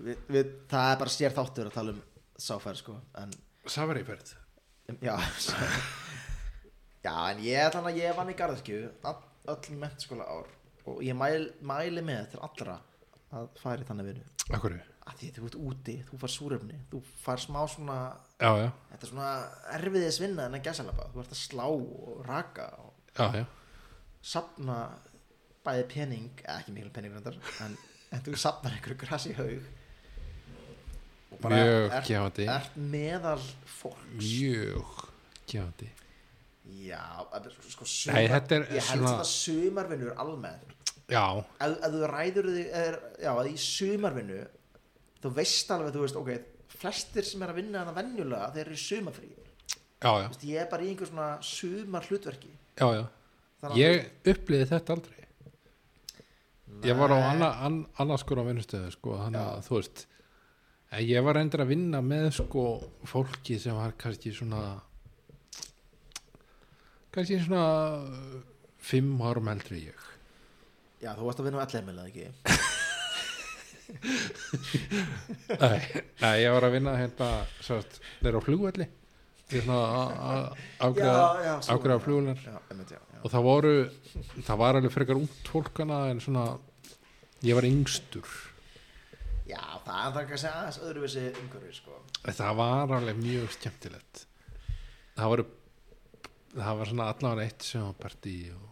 Speaker 2: Við, við, það er bara sér þáttur að tala um sáferð, sko, en...
Speaker 1: Safariferð
Speaker 2: Já Já, en ég þannig að ég vann í garðskju öll mentaskóla ár og ég mæl, mæli með til allra að færi þannig vinnu
Speaker 1: Akkur Já,
Speaker 2: að því þú ert úti, þú far súrefni þú far smá svona,
Speaker 1: já,
Speaker 2: þetta er svona erfiðis vinna en að gæsalapa, þú ert að slá og raka og
Speaker 1: já, já
Speaker 2: sapna bæði pening, eða ekki mikil pening reyndar, en, en þú sapnar einhverju grasi haug og
Speaker 1: Mjög
Speaker 2: ert,
Speaker 1: gefandi.
Speaker 2: ert meðal fólks
Speaker 1: Mjög Gjandi
Speaker 2: Já, að- sko
Speaker 1: Nei, þetta er
Speaker 2: Ég held
Speaker 1: svona-
Speaker 2: að sumarvinnur almennt
Speaker 1: Já,
Speaker 2: Ef ef þú ræður þig er, Já, að í sumarvinnu Þú veist alveg, þú veist, ok Flestir sem er að vinna hana venjulega Þeir eru í sumarfrí Þú
Speaker 1: já, já,
Speaker 2: veist, Ég er bara í einhver svona sumar hlutverki
Speaker 1: já, já. Ég upplýði þetta aldrei Ég var á anna, an, annarskur á vinnustöðu sko, þannig að þú veist en ég var endur að vinna með sko fólki sem var kannski svona kannski svona uh, fimm árum eldri en ég
Speaker 2: Já, þú varst að vinna á allir meðlega ekki
Speaker 1: nei, nei, ég var að vinna hérna sátt, þeir á flugvelli ég svona að- að afgræða
Speaker 2: já, svo-
Speaker 1: afgræða flugvelnar
Speaker 2: Já, emmitt, já, já
Speaker 1: og það voru það var alveg frekar út fólkana en svona ég var yngstur
Speaker 2: Já, það er það kannski aðeins öðruvísi umhverfi, sko
Speaker 1: það var alveg mjög skemmtilegt það voru það var svona allavega eitt sjónpartí og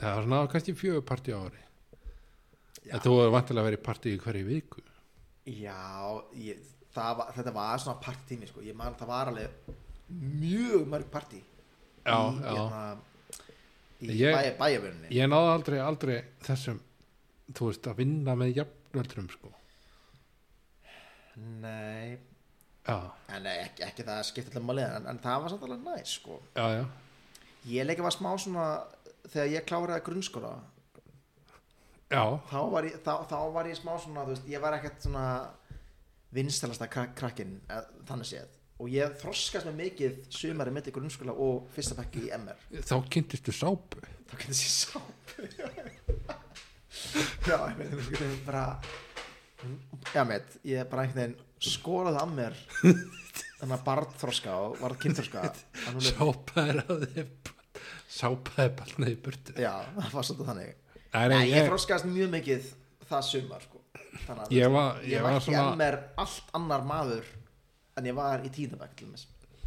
Speaker 1: það var svona kannski fjögur partí á ári
Speaker 2: Já.
Speaker 1: þetta voru vantilega að vera í partí í hverju viku
Speaker 2: Já, ég, það var, þetta var svona partími, sko Ég man, það var alveg mjög mörg partí
Speaker 1: já,
Speaker 2: í,
Speaker 1: já.
Speaker 2: hérna, í
Speaker 1: Ég-
Speaker 2: bæ, bæjarvinni
Speaker 1: ég náði aldrei, aldrei þessum þú veist að vinna með jafnöldrum sko
Speaker 2: Nei,
Speaker 1: já,
Speaker 2: en nei, ekki, ekki það skipti allir málið en, en það var samt alveg næs sko.
Speaker 1: já, já,
Speaker 2: Ég leika var smá svona þegar ég kláraði grunnskóla
Speaker 1: já
Speaker 2: þá var ég, þá, þá var ég smá svona þú veist, ég var ekkert svona vinstalasta krak krakkin eh, þannig séð og ég þroskast með mikið sumari mitt í grunnskóla og fyrsta bekki í MR
Speaker 1: þá kynntistu sápu
Speaker 2: þá getur þessi sápu já, ég veit ég veit bara já, meit, ég bara einhvern veginn skólaði að mér þannig að barðþroska og varð kynþroska að núna-
Speaker 1: sápa er að þið sápa er balnaði í burtu
Speaker 2: já, það var svolítið þannig
Speaker 1: Nei,
Speaker 2: Nei,
Speaker 1: nei,
Speaker 2: ég,
Speaker 1: ég,
Speaker 2: þroskaðist mjög mikið það sumar sko. þannig að
Speaker 1: Ég var- ég var
Speaker 2: ég var ekki
Speaker 1: svona-
Speaker 2: að mér allt annar maður en ég var í tíðabæk til þess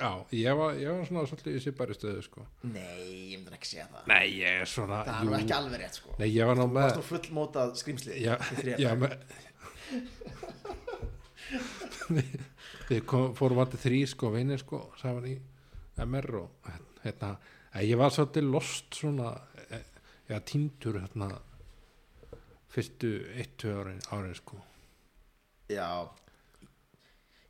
Speaker 1: já, ég, var, ég var svona svolítið í sýpari stöðu sko.
Speaker 2: nei, ég myndi ekki segja það
Speaker 1: Nei, ég er svona
Speaker 2: það er
Speaker 1: jú.
Speaker 2: nú ekki alveg rétt sko.
Speaker 1: Nei, ég var nú
Speaker 2: það var
Speaker 1: með
Speaker 2: svona fullmótað skrýmsli
Speaker 1: Já,
Speaker 2: í þriðja
Speaker 1: já
Speaker 2: bekk.
Speaker 1: með Við- Við kom, fórum vanti þrý sko vinir sko saman í MR og hérna, að ég var svolítið lost svona eh, eða týndur hérna fyrstu eittu árin, árin sko
Speaker 2: Já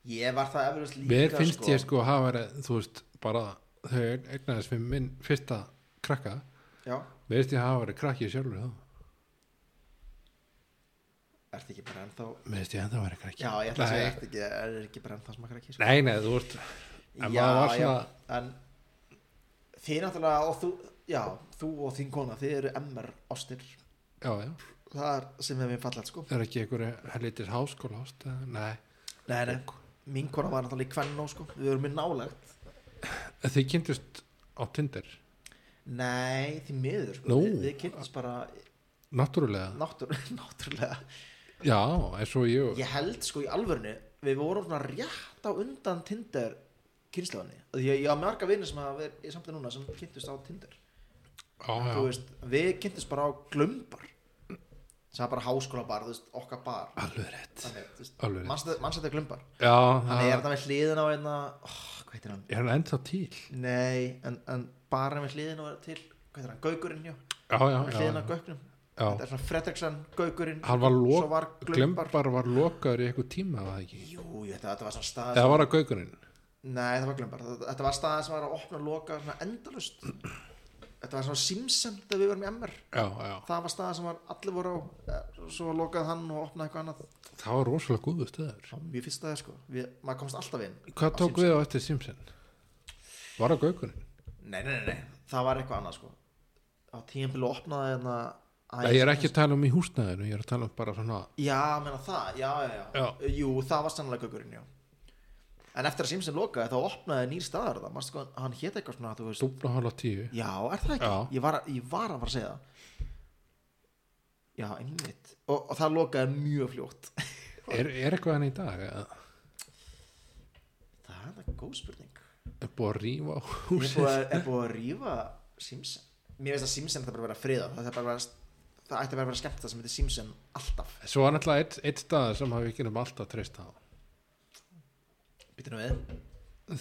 Speaker 2: Ég var það eflust líka
Speaker 1: Mér finnst
Speaker 2: sko.
Speaker 1: ég sko að hafa verið, þú veist, bara þau eignaðist við minn fyrsta krakka
Speaker 2: Já,
Speaker 1: Mér finnst ég að hafa verið krakki sjálfur þá
Speaker 2: ertu ekki bara ennþá
Speaker 1: Mér finnst ég ennþá verið krakki
Speaker 2: Já, ég ætla að segja,
Speaker 1: Nei,
Speaker 2: ertu ekki, er ekki bara ennþá smakar ekki sko.
Speaker 1: Nei, nei, þú veist en
Speaker 2: Já,
Speaker 1: maður var
Speaker 2: já,
Speaker 1: svona-
Speaker 2: en Þið náttúrulega og þú Já, þú og þín kona, þið eru MR ástir
Speaker 1: Já, já
Speaker 2: Það er sem við mér fallað sko
Speaker 1: Það er ekki einhverju hellitir háskóla ást eða- Nei,
Speaker 2: Nei, nei, mín kona var náttúrulega í kvennó sko Við erum mér nálægt
Speaker 1: þið kynntust á Tinder
Speaker 2: Nei, því miður sko
Speaker 1: Nú.
Speaker 2: Við, við kynntumst bara
Speaker 1: Náttúrulega,
Speaker 2: náttúr, náttúrulega
Speaker 1: já, eins og ég
Speaker 2: Ég held sko í alvörinu Við vorum svona rétt á undan Tinder kynnslóðinni Því ég, ég á marga vinnir sem hafa verið í samtli núna sem kynntust á Tinder
Speaker 1: Já,
Speaker 2: Þú
Speaker 1: já,
Speaker 2: veist, Við kynntust bara á glömbar sem er bara háskóla bar, þú veist, okkar bar
Speaker 1: alveg rétt
Speaker 2: þannig, þú veist,
Speaker 1: Alveg rétt.
Speaker 2: mannsættu glumbar
Speaker 1: já,
Speaker 2: þannig er hérna-
Speaker 1: það-
Speaker 2: þetta með hliðin á einna oh, hvað heitir hann?
Speaker 1: er hann ennþá til
Speaker 2: Nei, en, en bara með hliðin á til, hvað heitir hann? Gaugurinn, já,
Speaker 1: já, já,
Speaker 2: með
Speaker 1: já,
Speaker 2: hliðin á
Speaker 1: já,
Speaker 2: Gauknum þetta
Speaker 1: já.
Speaker 2: er svona Fredriksson, Gaugurinn
Speaker 1: hann var,
Speaker 2: svo
Speaker 1: lok,
Speaker 2: var glumbar,
Speaker 1: glembar var lokaður í eitthvað tíma var það ekki,
Speaker 2: jú, ég, þetta, þetta var svona stað
Speaker 1: eða var það gaukurinn
Speaker 2: Nei, það var glömbar. Þetta þetta var staðið sem var að opna og loka svona endalust. Þetta var svona Simpson þegar við varum í MR.
Speaker 1: já, já,
Speaker 2: Það var staðið sem var allir voru á, eh, svo lokaði hann og opnaði eitthvað annað.
Speaker 1: það var rosalega góðu stöður
Speaker 2: Það var mjög fyrst staðið sko. Við, maður komst alltaf inn.
Speaker 1: hvað
Speaker 2: á
Speaker 1: tók við á eftir Simpson var það gaukurinn
Speaker 2: Simpson. Nei, nei, nei, nei. Það var eitthvað annað sko. Á tíðanbílu opnaði hérna...
Speaker 1: Nei, ég er ekki að tala um í húsnæðinu, ég er að tala um bara svona
Speaker 2: Já, menna það. Já, já, já.
Speaker 1: Já.
Speaker 2: Jú, það var sannlega gökurinn, já. En eftir að Simpson lokaði þá opnaði nýr staðar það. Manstu hvað, hann hét eitthvað svona, þú veist,
Speaker 1: dúfna hálf á tíu
Speaker 2: Já, er það ekki?
Speaker 1: Já.
Speaker 2: Ég var, að- ég var að fara að segja það Já, einmitt og, og það lokaði mjög fljótt
Speaker 1: er, er eitthvað hann í dag? eða?
Speaker 2: Það er þetta góð spurning
Speaker 1: Er búið að rífa á
Speaker 2: Er
Speaker 1: húsið?
Speaker 2: búið, að- er búið að rífa Simpson Mér finnst að Simpson það bara að vera friða Það, er bara að vera, það ætti bara að vera skemmt það sem heitir Simpson alltaf
Speaker 1: Svo var náttúrulega eitt, eitt stað sem hafi ekki um alltaf treyst á
Speaker 2: Býtum við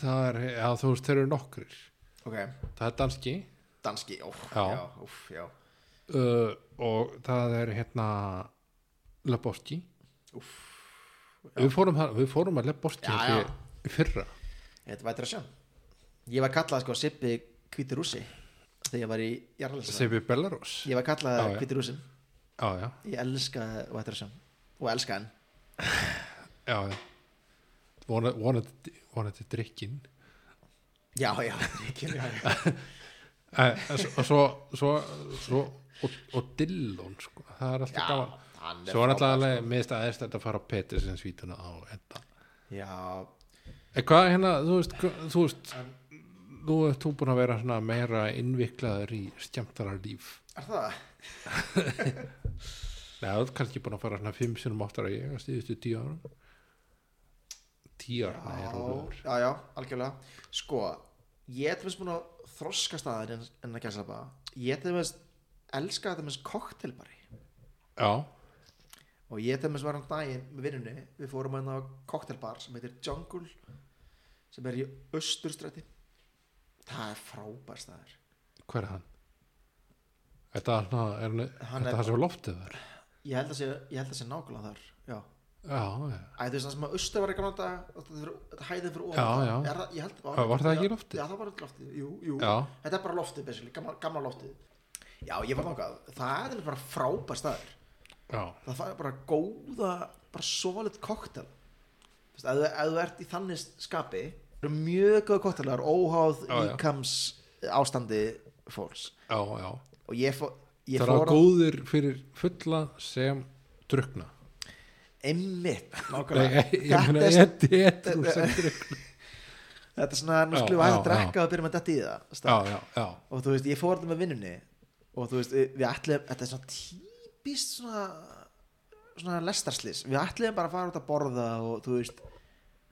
Speaker 1: Það er, já þú veist, þeir eru nokkrir
Speaker 2: Ok,
Speaker 1: Það er danski
Speaker 2: danski, ó, já,
Speaker 1: Já.
Speaker 2: já, úf, já
Speaker 1: uh, og það er hérna Leboski við fórum, þar- við fórum að Leboski
Speaker 2: Já,
Speaker 1: já, já. fyrra
Speaker 2: Þetta vætir að sjá Ég var kallað sko Sippi Hvíti Rússi Þegar ég var í Jarlins
Speaker 1: sem við Belarus
Speaker 2: Ég var kallað
Speaker 1: Já, já.
Speaker 2: Hvíti Rússin
Speaker 1: Já, já,
Speaker 2: Ég elska Vætir að sjá Og elska hann
Speaker 1: já, já. Vona- vonandi vonandi drikkin
Speaker 2: Já, já, Ríkir, já, já.
Speaker 1: Eh, og svo, svo, svo og, og Dillon sko. það er alltaf
Speaker 2: Já, hann
Speaker 1: gaman
Speaker 2: er
Speaker 1: svo er alltaf
Speaker 2: frábær, sko.
Speaker 1: alveg mist aðeins þetta að fara á Petersen svítuna á enda
Speaker 2: já
Speaker 1: en hvað er hérna, þú veist hva- þú veist, þú ert þú búin að vera svona meira innviklaður í skemmtara líf
Speaker 2: er það?
Speaker 1: Nei, þú ert kannski búin að fara svona fimm sinum áttar að ég að stíðustu tíu árum tíu árum, nei, rólegur
Speaker 2: Já, já, algjörlega Sko, ég er til þess búin að þroska staðar en, en að gæsa bara Ég er til þess elska þetta með koktelbari
Speaker 1: já,
Speaker 2: og ég til þess var hann daginn með vinnunni við fórum hann á koktelbar sem heitir Jungle sem er í Östurstræti Það er frábær staðar
Speaker 1: hver er hann? Þetta er svona, er, hann-
Speaker 2: Hann
Speaker 1: þetta
Speaker 2: er-
Speaker 1: er það sem loftið var
Speaker 2: Ég held að sé, ég held að sé nákvæmlega þar Já
Speaker 1: já, já
Speaker 2: Æ, þú veist það sem að austur var í gamla daga og þetta fyrir- þetta hæðin fyrir ofan
Speaker 1: Já,
Speaker 2: það.
Speaker 1: já.
Speaker 2: Er það, ég held,
Speaker 1: Já, var það ekki
Speaker 2: já,
Speaker 1: loftið?
Speaker 2: Já, það var ekki loftið, jú, jú
Speaker 1: Já.
Speaker 2: Þetta er bara loftið, basically, gamla, gamla loftið Já, ég var þangað, það er nefnilega bara frábær staður
Speaker 1: já,
Speaker 2: Það fæði bara góða, bara solid koktel Þú veist, ef þú- ef þú ert í þannig skapi Það eru mjög góða koktelar, óháð
Speaker 1: Já, já.
Speaker 2: líkams ástandi fólks
Speaker 1: já, já.
Speaker 2: Og ég, fó, ég
Speaker 1: það er
Speaker 2: fór á
Speaker 1: góðir fyrir fulla sem drukna
Speaker 2: einmitt
Speaker 1: Nei,
Speaker 2: nákvæmlega.
Speaker 1: ég ég meina
Speaker 2: Þetta er-
Speaker 1: ég ég- þú sem drukna
Speaker 2: Þetta er svona, nú skulum við
Speaker 1: Já,
Speaker 2: aðeins
Speaker 1: já,
Speaker 2: að drekka og byrjum að detti í það
Speaker 1: já,
Speaker 2: stað.
Speaker 1: já, já,
Speaker 2: og þú veist, ég fór þetta með vinnunni og þú veist, við ætlum þetta er svona típist svona svona lestarslýs, við ætlum bara að fara út að borða og þú veist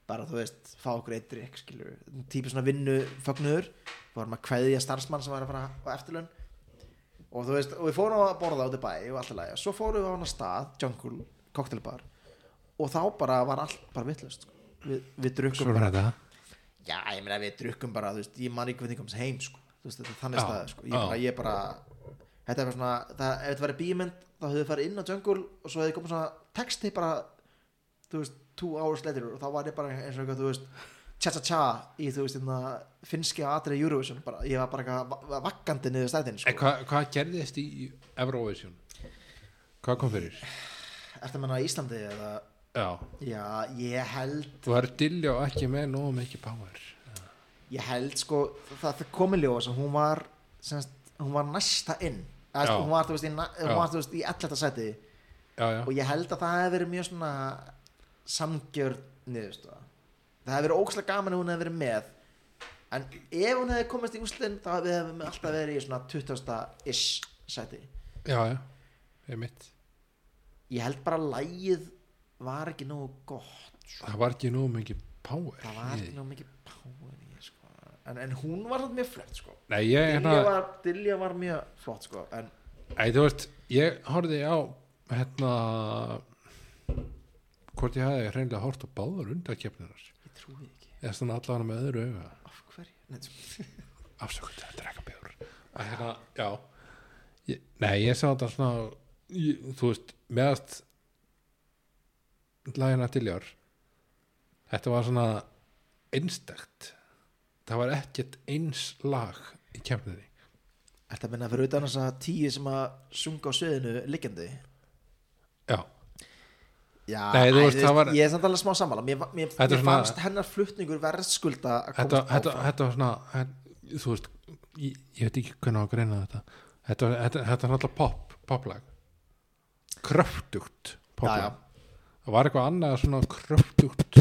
Speaker 2: bara þú veist, fá okkur eitt drikk skilur típist svona vinnu fögnuður vorum að kveðja starfsmann sem var að fara á eftirlaun og þú veist, og við fórum að borða út í bæ og allt í lagi, svo fórum við á hana stað Jungle Cocktail Bar og þá bara var allt bara vittlust við, við drukkum
Speaker 1: svona er þetta
Speaker 2: Já, ég meina við drukkum bara, þú veist, ég man ekki hvernig komst heim, sko, þú veist, þetta er þannig
Speaker 1: Já,
Speaker 2: staði, sko, ég
Speaker 1: já.
Speaker 2: bara, ég bara, þetta er bara svona, það, ef þetta væri bímynd, þá höfðu farið inn á jungle og svo hefði komið svona texti bara, þú veist, two hours later og þá var ég bara eins og eitthvað, þú veist, tja-tja-tja í, þú veist, hérna, finnski atrið Eurovision, bara, ég var bara eitthvað va- vaggandi niður stæðin,
Speaker 1: En
Speaker 2: sko,
Speaker 1: hvað hva gerðist í Eurovision? Hvað kom fyrir?
Speaker 2: ertu að menna Íslandi eða,
Speaker 1: Já,
Speaker 2: já, ég held,
Speaker 1: þú er dilljá ekki með nóg mikið power
Speaker 2: ég held sko það, það komið ljós að hún var semst, hún var næsta inn Eða,
Speaker 1: Já.
Speaker 2: sko, hún var þú veist í, na- hún
Speaker 1: Já.
Speaker 2: var, þú veist, í 11. seti
Speaker 1: Já, já,
Speaker 2: og ég held að það hefði verið mjög svona samgjörn niðurstaða. það hefði verið ókslega gaman ef hún hefði verið með en ef hún hefði komist í úslinn þá hefði við alltaf verið í svona 20. ish seti
Speaker 1: já, já Ég mitt,
Speaker 2: ég held bara að lægið var ekki nógu gott sko.
Speaker 1: það var ekki nóg mikið power
Speaker 2: það var
Speaker 1: í
Speaker 2: ekki
Speaker 1: því.
Speaker 2: nógu mikið páin í, sko. en, en hún var samt mjög flott sko
Speaker 1: Nei, ég,
Speaker 2: Dilja
Speaker 1: hérna,
Speaker 2: var, Dilja var mjög flott sko en
Speaker 1: ei, þú veist Ég horfði á hérna hvort ég hafi hreinlega hort á báðar undarkeppninar
Speaker 2: Ég trúi því ekki
Speaker 1: eða svona allavega með öðru auga
Speaker 2: Af hverju? Nei, þú-
Speaker 1: afsökund að drekka bjór að hérna, já ég, nei, ég sá þetta svona ég, þú veist, meðast lagina til jár þetta var svona einstakt það var ekkert eins lag í kemniði
Speaker 2: Ertu að minna fyrir utan þess að tíu sem að sunga á sviðinu liggjandi?
Speaker 1: já,
Speaker 2: Já,
Speaker 1: Nei, þú
Speaker 2: æ,
Speaker 1: veist, það var-
Speaker 2: ég er samt alveg smá sammála Mér, va- mér,
Speaker 1: Þetta er
Speaker 2: mér
Speaker 1: svona-
Speaker 2: fannst hennar flutningur verðskulda að
Speaker 1: þetta,
Speaker 2: komast
Speaker 1: þetta,
Speaker 2: áfram
Speaker 1: þetta var svona hæ- þú veist, ég, ég veit ekki hvernig á að greina þetta þetta, var- þetta, þetta er náttúrulega pop, poplag kröftugt
Speaker 2: Já,
Speaker 1: poplag
Speaker 2: já,
Speaker 1: það var eitthvað annað svona kröftugt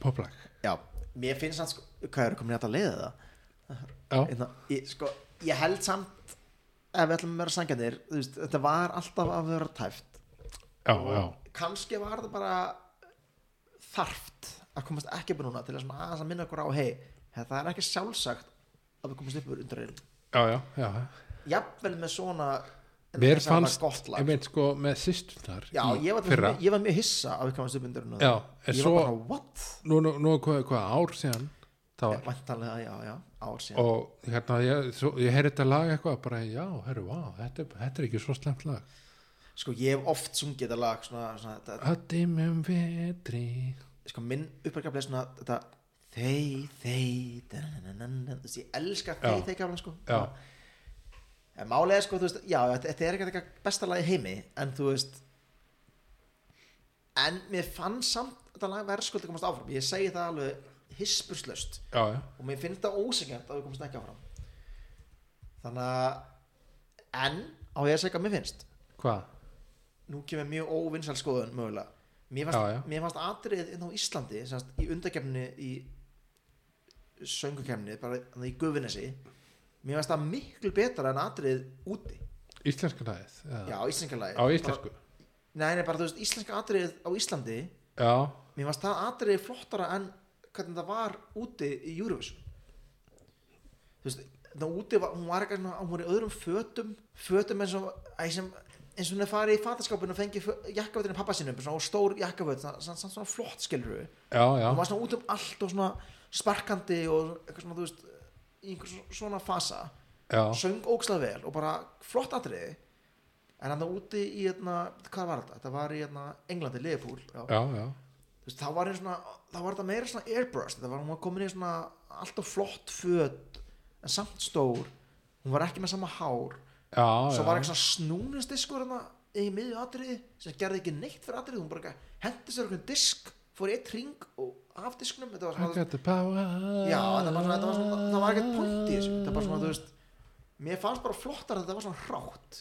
Speaker 1: poplag
Speaker 2: já, mér finnst samt sko, hvað eru komin í þetta að leiða það?
Speaker 1: já,
Speaker 2: Einna, ég, sko, ég held samt ef við ætlum að vera sangjarnir þú veist, þetta var alltaf að vera tæft
Speaker 1: já, já,
Speaker 2: kannski var það bara þarft að komast ekki upp núna til að svona aðeins að minna okkur á hei, það er ekki sjálfsagt að við komast upp úr undir einn
Speaker 1: já, já, já.
Speaker 2: jafnvel með svona en
Speaker 1: mér
Speaker 2: þess að það var
Speaker 1: fannst,
Speaker 2: gott
Speaker 1: ég
Speaker 2: lag
Speaker 1: veit sko með sýstunar
Speaker 2: já, ég var,
Speaker 1: fyrra,
Speaker 2: mjög, ég var mjög hissa að við komast upp undir einn
Speaker 1: Já, en
Speaker 2: ég
Speaker 1: svo-
Speaker 2: var bara what?
Speaker 1: nú, nú, nú hvað, hvað ár síðan það var
Speaker 2: vantanlega, já, já, ár síðan
Speaker 1: og hérna, ég, svo, ég heyri þetta lag eitthvað bara, já, herru, vá, þetta, er- þetta er ekki svo slemt lag
Speaker 2: sko, ég hef oft sungið þetta lag svona, svona, þetta,
Speaker 1: að dimmum vetri
Speaker 2: sko minn upparkafli er svona þetta þey, þey danananana, þú veist, ég elska þey,
Speaker 1: Já.
Speaker 2: þey kaflan sko
Speaker 1: Já.
Speaker 2: en málið er sko, þú veist, já, þetta- þetta er ekki besta lagi í heimi, en þú veist en mér fann samt þetta lag verðskuldi komast áfram ég segi það alveg hispurslaust
Speaker 1: já, já,
Speaker 2: og mér finnst það ósengjant að við komast ekki áfram þannig að en á ég að segja hvað mér finnst
Speaker 1: hvað,
Speaker 2: nú kemur mjög óvinnsal skoðun mögulega mér fannst,
Speaker 1: Já, já.
Speaker 2: Mér fannst atriðið inn á Íslandi semast, í undakefni í söngukefni bara þarna í gufinesi mér fannst það miklu betra en atriðið úti
Speaker 1: íslenska lagið
Speaker 2: já,
Speaker 1: eða?
Speaker 2: á íslenskjalagi
Speaker 1: á íslensku,
Speaker 2: nei, nei, bara þú veist, íslenska atriðið á Íslandi
Speaker 1: já,
Speaker 2: mér fannst það atriðið flottara en hvernig það var úti í Eurovision þú veist, það úti var, hún var eitthvað svona, hún var í öðrum fötum fötum eins og æ, sem, eins og hún er farið í fataskápinu og fengið jakkavötinu pappa sínum, svona stór jakkavöt svona, svona, svona, svona flott skilur við
Speaker 1: já, já
Speaker 2: hún var svona út um allt og svona sparkandi og eitthvað svona, þú veist í einhver svo- svona fasa
Speaker 1: já,
Speaker 2: söng ógslað vel og bara flott atriði en hann það úti í hérna, hvað var þetta? þetta var í hérna, Englandi, Liverpool já
Speaker 1: já, já,
Speaker 2: þú veist, þá var ég svona þá var þetta meira svona airbrush það var hún var komin í svona alltaf flott föt en samt stór hún var ekki með sama hár
Speaker 1: já,
Speaker 2: svo
Speaker 1: já.
Speaker 2: var eitthvað snúningsdiskur hérna í miðju atriði sem gerði ekki neitt fyrir atriði hún bara ekki hendi sér einhvern disk fór í eitt ring og af disknum þetta var
Speaker 1: I
Speaker 2: svona,
Speaker 1: got the power
Speaker 2: já, þetta var svona, þetta var svona það var ekkert point í þessu þetta var svona, þú veist mér fannst bara flottar að þetta var svona rátt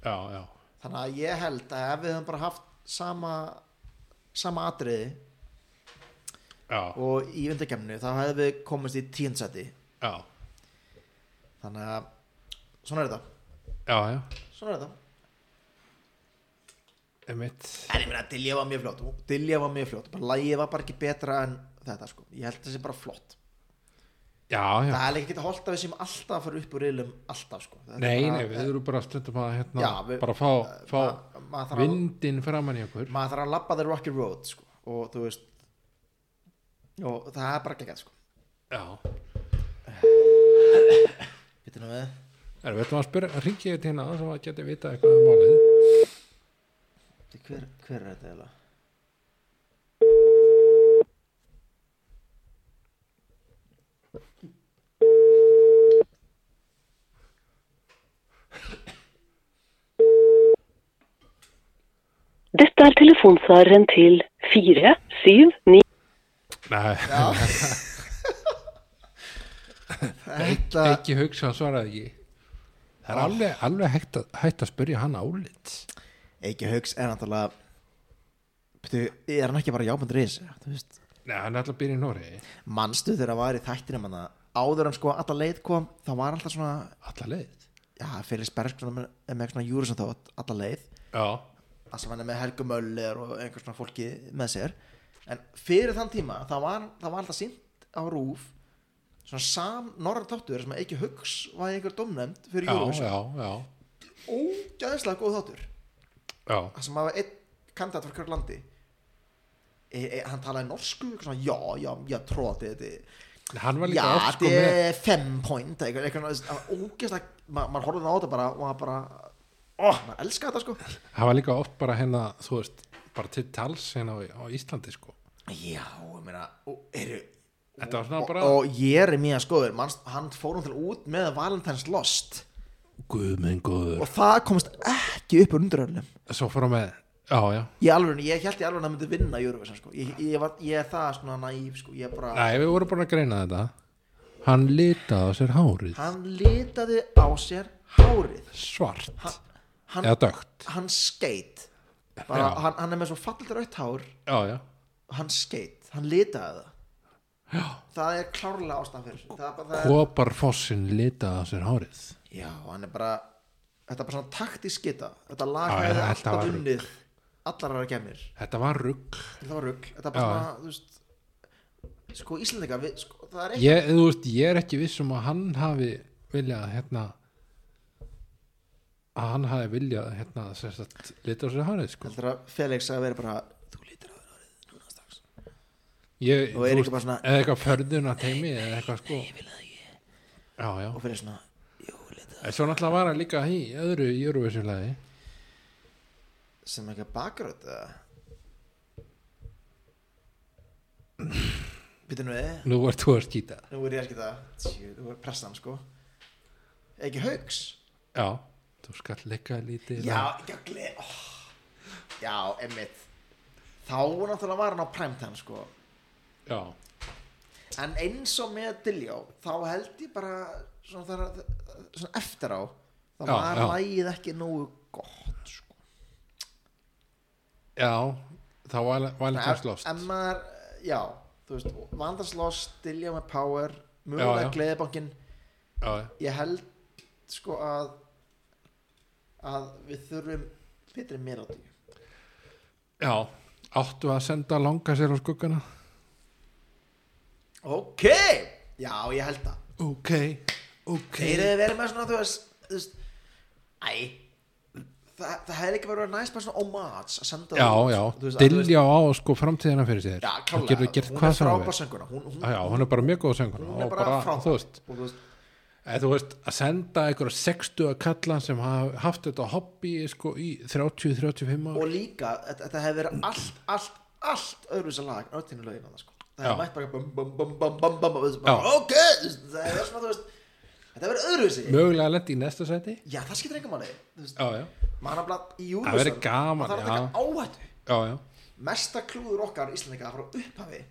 Speaker 1: já, já,
Speaker 2: þannig að ég held að ef við höfum bara haft sama sama atriði
Speaker 1: já,
Speaker 2: og í undarkemnu þá hefðum við komist í tíundsæti
Speaker 1: já,
Speaker 2: þannig að svona er þetta
Speaker 1: já, já
Speaker 2: svona er þetta
Speaker 1: emitt,
Speaker 2: en ég meina Dilja var mjög flott Dilja var mjög flott bara lægið var bara ekki betra en þetta sko ég held að það sé bara flott
Speaker 1: já, já
Speaker 2: það er líka ekki að holda við sem alltaf að fara upp úr reilum alltaf sko Þetta er
Speaker 1: Nei,
Speaker 2: bara-
Speaker 1: nei, við erum bara stundum að hérna,
Speaker 2: Já, við-
Speaker 1: bara fá, fá
Speaker 2: ma- maður þarf að-
Speaker 1: vindin framan í okkur
Speaker 2: maður þarf að labba the rocky road sko og þú veist og það er bara ekki sko
Speaker 1: Já,
Speaker 2: Býttu nú við
Speaker 1: er við ætlum að spyrja ringi ég til hérna aðeins svo að geti vita eitthvað um málið
Speaker 2: Bíddu, hver, hver er þetta eiginlega
Speaker 4: Dette er telefonsvareren til 479.
Speaker 1: Nei,
Speaker 2: þetta
Speaker 1: ekki hugsa, hann svaraði ekki Það er alveg, alveg hægt, að, hægt að spyrja hann álit
Speaker 2: Eiki Hauks er náttúrulega Pítu, er hann ekki bara jábundur í þessu
Speaker 1: Nei, hann er alltaf að byrja í Nóri
Speaker 2: mannstu þegar hann var í þættinum hann áður en sko alla leið kom þá var alltaf svona
Speaker 1: Alla leið
Speaker 2: já, fyrir spersk svona, með- með svona júri sem þá alla leið
Speaker 1: Já,
Speaker 2: að sem hann er með Helgu Möller og einhver svona fólki með sér en fyrir þann tíma þá var, þá var alltaf sínt á rúf svona sam norra þáttur sem að Eiki Hauks var einhver domnefnd fyrir
Speaker 1: já,
Speaker 2: júri
Speaker 1: já, já
Speaker 2: ógæðislega góð þáttur
Speaker 1: já,
Speaker 2: það sem hafa einn kandidat frá hverju landi e, e, hann talaði norsku eitthvað svona, já, já, já, tróði þetta
Speaker 1: hann var
Speaker 2: já,
Speaker 1: líka oft sko
Speaker 2: þetta
Speaker 1: með
Speaker 2: er fem point eitthvað, eitthvað, eitthvað ógæðislega ma, maður horfði á þetta bara og maður bara oh, maður elska þetta sko
Speaker 1: hann var líka oft bara hérna, þú veist bara til tals hérna á, á Íslandi sko
Speaker 2: já, ég meina, og, eru
Speaker 1: Þetta var svona
Speaker 2: og,
Speaker 1: bara-
Speaker 2: og ég er mjög skoður, manst, hann fór hann til út með Valentine's Lost
Speaker 1: Guð minn góður
Speaker 2: og það komist ekki upp úr undurörlum
Speaker 1: Svo fór hann með, já, já
Speaker 2: Ég, alveg, ég held ég alveg að það myndi vinna Eurovision sko. ég, ég, var, ég er það svona næf sko. ég er bara,
Speaker 1: Nei, við vorum búin að greina þetta Hann litaði á sér hárið
Speaker 2: hann litaði á sér hárið
Speaker 1: svart
Speaker 2: hann, hann,
Speaker 1: eða dögt
Speaker 2: hann skeit bara,
Speaker 1: Já.
Speaker 2: hann, hann er með svo fallit rautt hár
Speaker 1: Já, já,
Speaker 2: hann skeit, hann litaði það já. það er klárlega ástæðan fyrir þessu. það er bara, það er,
Speaker 1: koparfossin litaði á sér hárið
Speaker 2: já, hann er bara þetta er bara svona taktisk geta þetta lag
Speaker 1: Já, þetta
Speaker 2: hefði
Speaker 1: var
Speaker 2: alltaf
Speaker 1: rugl.
Speaker 2: unnið allar aðra gemir
Speaker 1: Þetta var rugg
Speaker 2: þetta var rugg, þetta er
Speaker 1: Já,
Speaker 2: bara svona þú veist, sko Íslandika við, sko, það er ekki
Speaker 1: ég, þú veist, ég er ekki viss um að hann hafi viljað hérna að hann hafi viljað hérna sem sagt, litaði á sér hárið sko.
Speaker 2: heldur að Felix að vera bara þú lítir á þér árið núna strax
Speaker 1: ég,
Speaker 2: Og
Speaker 1: þú
Speaker 2: er
Speaker 1: veist,
Speaker 2: ekki bara svona-
Speaker 1: eða eitthvað förðuna teimi eða eitthvað sko Já, já,
Speaker 2: og fyrir svona jú, lítir
Speaker 1: En svo náttúrulega var hann líka í öðru í Eurovision-lagi
Speaker 2: sem ekki bakröð býtu nú við
Speaker 1: Nú ert þú að skýta
Speaker 2: nú er ég ekki það tjú, þú er pressan sko ekki haugs
Speaker 1: Já, þú skall leika lítið
Speaker 2: já, ekki að gleð oh. já, emmitt þá náttúrulega var hann á primetime sko
Speaker 1: já,
Speaker 2: en eins og með Dilljó þá held ég bara svona, þar, svona eftir á þá
Speaker 1: Já,
Speaker 2: var
Speaker 1: já.
Speaker 2: lagið ekki nógu gott sko
Speaker 1: já þá var Valentine's
Speaker 2: En-
Speaker 1: Lost
Speaker 2: en maður, já, þú veist Vandars Lost, Dilljó með Power
Speaker 1: Já,
Speaker 2: mögulega
Speaker 1: já.
Speaker 2: Gleðibankin
Speaker 1: já,
Speaker 2: ég held sko að að við þurfum betri melódi
Speaker 1: já, áttu að senda langa sér á skuggana
Speaker 2: ok, já, ég held það
Speaker 1: Ok, ok
Speaker 2: þeir hefur verið með svona þú veist, þú veist æ það, það hefur ekki verið næst með svona homage að senda
Speaker 1: Já,
Speaker 2: það út,
Speaker 1: já,
Speaker 2: þú veist, að þú veist-
Speaker 1: dilja á sko framtíðina fyrir sér
Speaker 2: já,
Speaker 1: Hún
Speaker 2: klálega,
Speaker 1: getur gert
Speaker 2: hún
Speaker 1: hvað
Speaker 2: er
Speaker 1: sem hún
Speaker 2: frábær
Speaker 1: vill.
Speaker 2: sönguna hún, hún,
Speaker 1: Já, já, hún er bara mjög góð söngur
Speaker 2: hún er bara
Speaker 1: Þú
Speaker 2: frábær og
Speaker 1: veist,
Speaker 2: þú veist,
Speaker 1: eða þú veist að senda einhverja 60 að kalla sem hafa haft þetta hobby sko í 30-35 ár
Speaker 2: og líka þetta, þetta hefur verið allt, allt, allt öðruvísa lag, öllinu lögin að það sko það
Speaker 1: Já.
Speaker 2: hefur mætt bara bum, bum, bum, bum, bum, bum, bum, bara,
Speaker 1: Já.
Speaker 2: ok, þú veist, það hefur verið svona þú veist, þetta hefur verið öðruvísi
Speaker 1: Mögulega lendi í næsta sæti
Speaker 2: já, það skiptir engum máli þú veist,
Speaker 1: Já, já,
Speaker 2: maður er bara í júrvísa
Speaker 1: Það verður gaman,
Speaker 2: það er
Speaker 1: já.
Speaker 2: ekki áhættu
Speaker 1: já, já
Speaker 2: mesta klúður okkar Íslandinga frá upphafi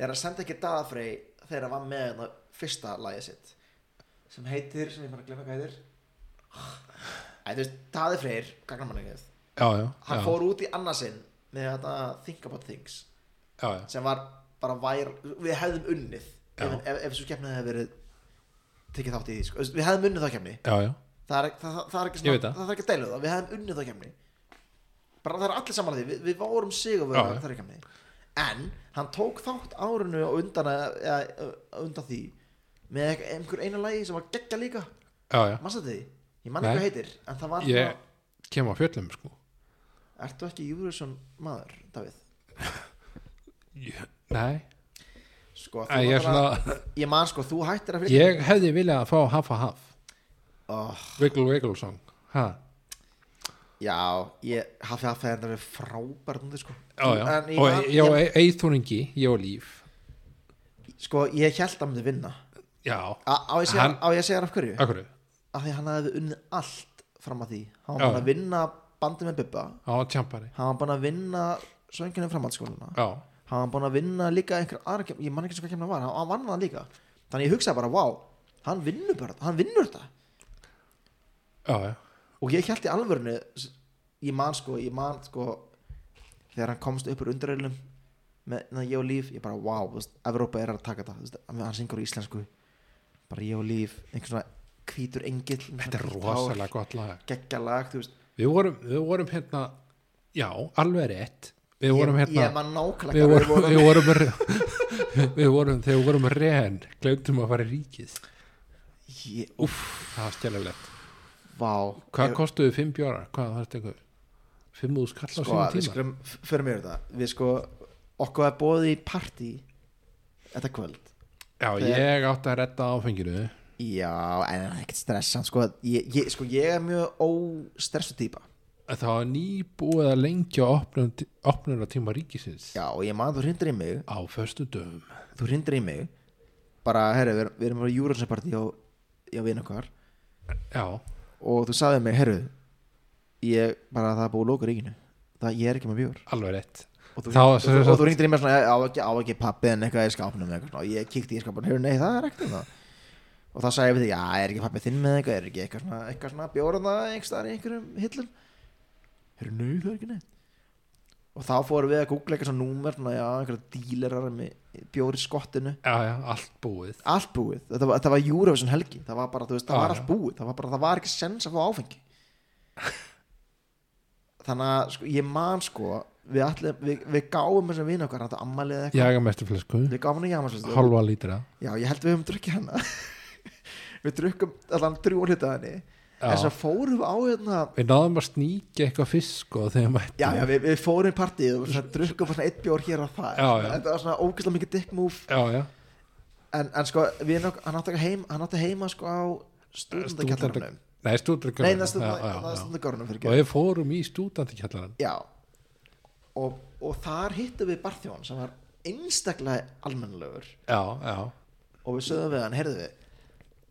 Speaker 2: er að senda ekki dagafrey þegar hann var með hérna fyrsta lagið sitt sem heitir, sem ég bara glemma hvað heitir Æ, þú veist, Daði Freyr, gagnamanningið,
Speaker 1: Já, já,
Speaker 2: hann
Speaker 1: já,
Speaker 2: fór út í annarsinn með þetta Think About Things
Speaker 1: já, já.
Speaker 2: sem var bara vær, við hefðum unnið
Speaker 1: Já.
Speaker 2: ef, ef, ef svo kemnið hefði verið tekið þátt í því, sko. Þú veist, við hefðum unnið þá kemni
Speaker 1: já, já.
Speaker 2: það er, það, það er ekki
Speaker 1: Ég veit
Speaker 2: svona,
Speaker 1: það.
Speaker 2: það er ekki að deilu það við hefum unnið þá kemni bara það er allir samanlega því, við, við vorum
Speaker 1: Já,
Speaker 2: sigurverðar
Speaker 1: já.
Speaker 2: þar kemni en hann tók þátt árinu og undan, að, að, að undan því með ek- einhver einu lagi sem var geggja líka
Speaker 1: já, já.
Speaker 2: mannstu því, ég man
Speaker 1: Nei.
Speaker 2: ekki hvað heitir en það var
Speaker 1: ég
Speaker 2: svona,
Speaker 1: kem á fjöllum sko
Speaker 2: ertu ekki Júriðsson maður, Davíð
Speaker 1: ég, nei,
Speaker 2: sko, þú
Speaker 1: Æ, ég, er
Speaker 2: náttúrulega-
Speaker 1: svona,
Speaker 2: ég man sko, þú hættir að fyrir
Speaker 1: ég hefði viljað að fá haf að haf
Speaker 2: oh,
Speaker 1: wiggle wiggle song ha.
Speaker 2: já, ég hafði að það er frábært núna sko.
Speaker 1: já, já.
Speaker 2: En ég,
Speaker 1: og
Speaker 2: man,
Speaker 1: ég
Speaker 2: ég,
Speaker 1: og eithúringi ég og líf
Speaker 2: sko, ég held að myndi vinna
Speaker 1: já,
Speaker 2: Á á ég að segja-
Speaker 1: Hann-
Speaker 2: á ég að segja þér af hverju?
Speaker 1: akkur á
Speaker 2: Af því að hann hefði unnið allt fram að því Hann var
Speaker 1: Já.
Speaker 2: búin að vinna bandi með Bubba
Speaker 1: tjampari
Speaker 2: Hann var búin að vinna söngjunum framhaldsskóluna
Speaker 1: já,
Speaker 2: Hann var búin að vinna líka einhver aðra kemna Ég man ekki svo hvað kemna var, hann, hann vann það líka Þannig ég hugsaði bara, vá, hann vinnur bara Hann vinnur þetta
Speaker 1: já, já,
Speaker 2: Og ég held í alvörinu Ég man sko, ég man sko Þegar hann komst upp úr undirreilum Með na, ég og líf, ég bara, vá þú veist, Evrópa er að taka þetta, þú veist, hann syngur á íslensku Bara ég og líf Einhver svona hvítur engill með
Speaker 1: þetta er
Speaker 2: svona hvítt hár.
Speaker 1: rosalega gott lag
Speaker 2: geggjalag þú veist
Speaker 1: við vorum, við vorum hérna já, alveg rétt við vorum
Speaker 2: ég,
Speaker 1: hérna
Speaker 2: ég man nákvæmlega
Speaker 1: við
Speaker 2: hvað
Speaker 1: vorum, við vorum, við vorum þegar við vorum reyðan, glemtum að fara í ríkið
Speaker 2: ég,
Speaker 1: Úff, það var stjálfilegt
Speaker 2: Vá
Speaker 1: Hvað
Speaker 2: Ef-
Speaker 1: kostuðu fimm bjóra? Hvað var þetta einhver? Fimm úr skall á
Speaker 2: sko,
Speaker 1: sínum
Speaker 2: við
Speaker 1: tíma?
Speaker 2: skulum fyrir mér þetta við sko, okkur var bóðið í partí þetta kvöld
Speaker 1: Já,
Speaker 2: þegar-
Speaker 1: ég átti að redda áfenginu
Speaker 2: já, en það er ekkert stressan sko, ég, ég, sko, ég er mjög óstressu típa
Speaker 1: Það var nýbúið að lengja opnuna tíma ríkisins
Speaker 2: já, og ég man að þú hrindir í mig
Speaker 1: á föstu döfum
Speaker 2: þú hrindir í mig bara, herru, við, við erum að júralsa partí á, á vinn okkar
Speaker 1: Já,
Speaker 2: og þú sagði mig, herru ég, bara það er búið að lóka ríkinu það, ég er ekki með bjór
Speaker 1: alveg rétt
Speaker 2: og þú,
Speaker 1: Þá-
Speaker 2: og,
Speaker 1: sem
Speaker 2: þú,
Speaker 1: sagt-
Speaker 2: og þú ringdir í mér svona á ekki, á ekki pappi en eitthvað í skápnum eða eitthvað svona, og ég kíkti í skápnum, hefur nei það er ekkert um það og þá sagði ég við því, já er ekki pappi þinn með eitthvað er ekki eitthvað svona, eitthvað svona bjóraða einhverstaðar í einhverjum hillum hefur nei það er ekki neitt og þá fórum við að googla eitthvað svona númer svona, já einhverja dílerar með bjóri skottinu
Speaker 1: Já, já, allt búið
Speaker 2: allt búið, þetta var, þetta var Eurovision helgi það var bara, þú veist, það
Speaker 1: Já,
Speaker 2: var
Speaker 1: já.
Speaker 2: allt búið það var bara, það var ekki sens að fá áfengi þannig að sko, ég man sko við, allir, við, við gáum þessum vinn okkar þetta ammalið eitthvað,
Speaker 1: Jaga mestu flesku,
Speaker 2: við gáum hann í jamaslistu
Speaker 1: halva lítra
Speaker 2: já, ég held við höfum drukkið hana við drukkum allan drjú hluta af henni
Speaker 1: Já.
Speaker 2: en svo fórum við á hérna
Speaker 1: Við náðum að sníkja eitthvað fisk og þegar mættum
Speaker 2: já, já, við, við fórum í partíð og svona, drukkum bara svona eitt bjór hér og það
Speaker 1: Já, já.
Speaker 2: þetta var svona ógæslega mikið dick move
Speaker 1: já, já.
Speaker 2: en, en sko, við, hann átti heima, hann átti heima sko á stúdendakallarunum
Speaker 1: Nei, stúdentakjallarinn
Speaker 2: Nei, það
Speaker 1: Já, já, já.
Speaker 2: stundar gárunum fyrir
Speaker 1: Og
Speaker 2: ekki
Speaker 1: við fórum í stúdentakjallarinn
Speaker 2: Já og, og þar hittum við barþjón sem var einstaklega almennlegur
Speaker 1: Já, já,
Speaker 2: og við sögðum við hann, heyrðu við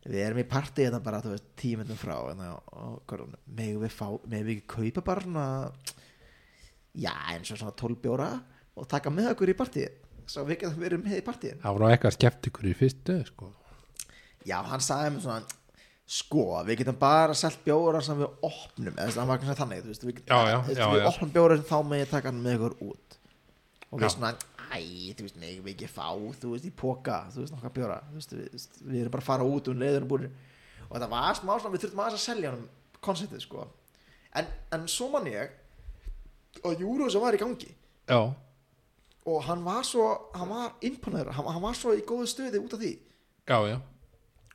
Speaker 2: við erum í partí þetta bara, þú veist, tímindum frá en það, gárunum, megum við fá megum við ekki kaupa bara svona já, eins og svona 12 bjóra og taka með okkur í partí svo við getum verið með í partíin
Speaker 1: það var nú eitthvað skeptikur í fyrstu sko.
Speaker 2: Já, hann sagði mér svona sko, við getum bara selt bjóra sem við opnum, eða þess að hann var ekki svona þannig þú veist, við, getum-
Speaker 1: Já, já,
Speaker 2: þú veist,
Speaker 1: já,
Speaker 2: við
Speaker 1: já.
Speaker 2: opnum bjóra sem þá með ég taka hann með ykkur út og við
Speaker 1: Já.
Speaker 2: svona, æ, þú veist, megum við ekki fá þú veist, í póka, þú veist, nokkað bjóra þú veist, við, við- við erum bara að fara út um leiður og búin og þetta var smá svona, við þurftum aðeins að selja hann konceptið, sko en, en svo man ég og Júru sem var í gangi
Speaker 1: Já,
Speaker 2: og hann var svo, hann var imponaður, hann, hann var svo í góðu stöði út af því
Speaker 1: já, já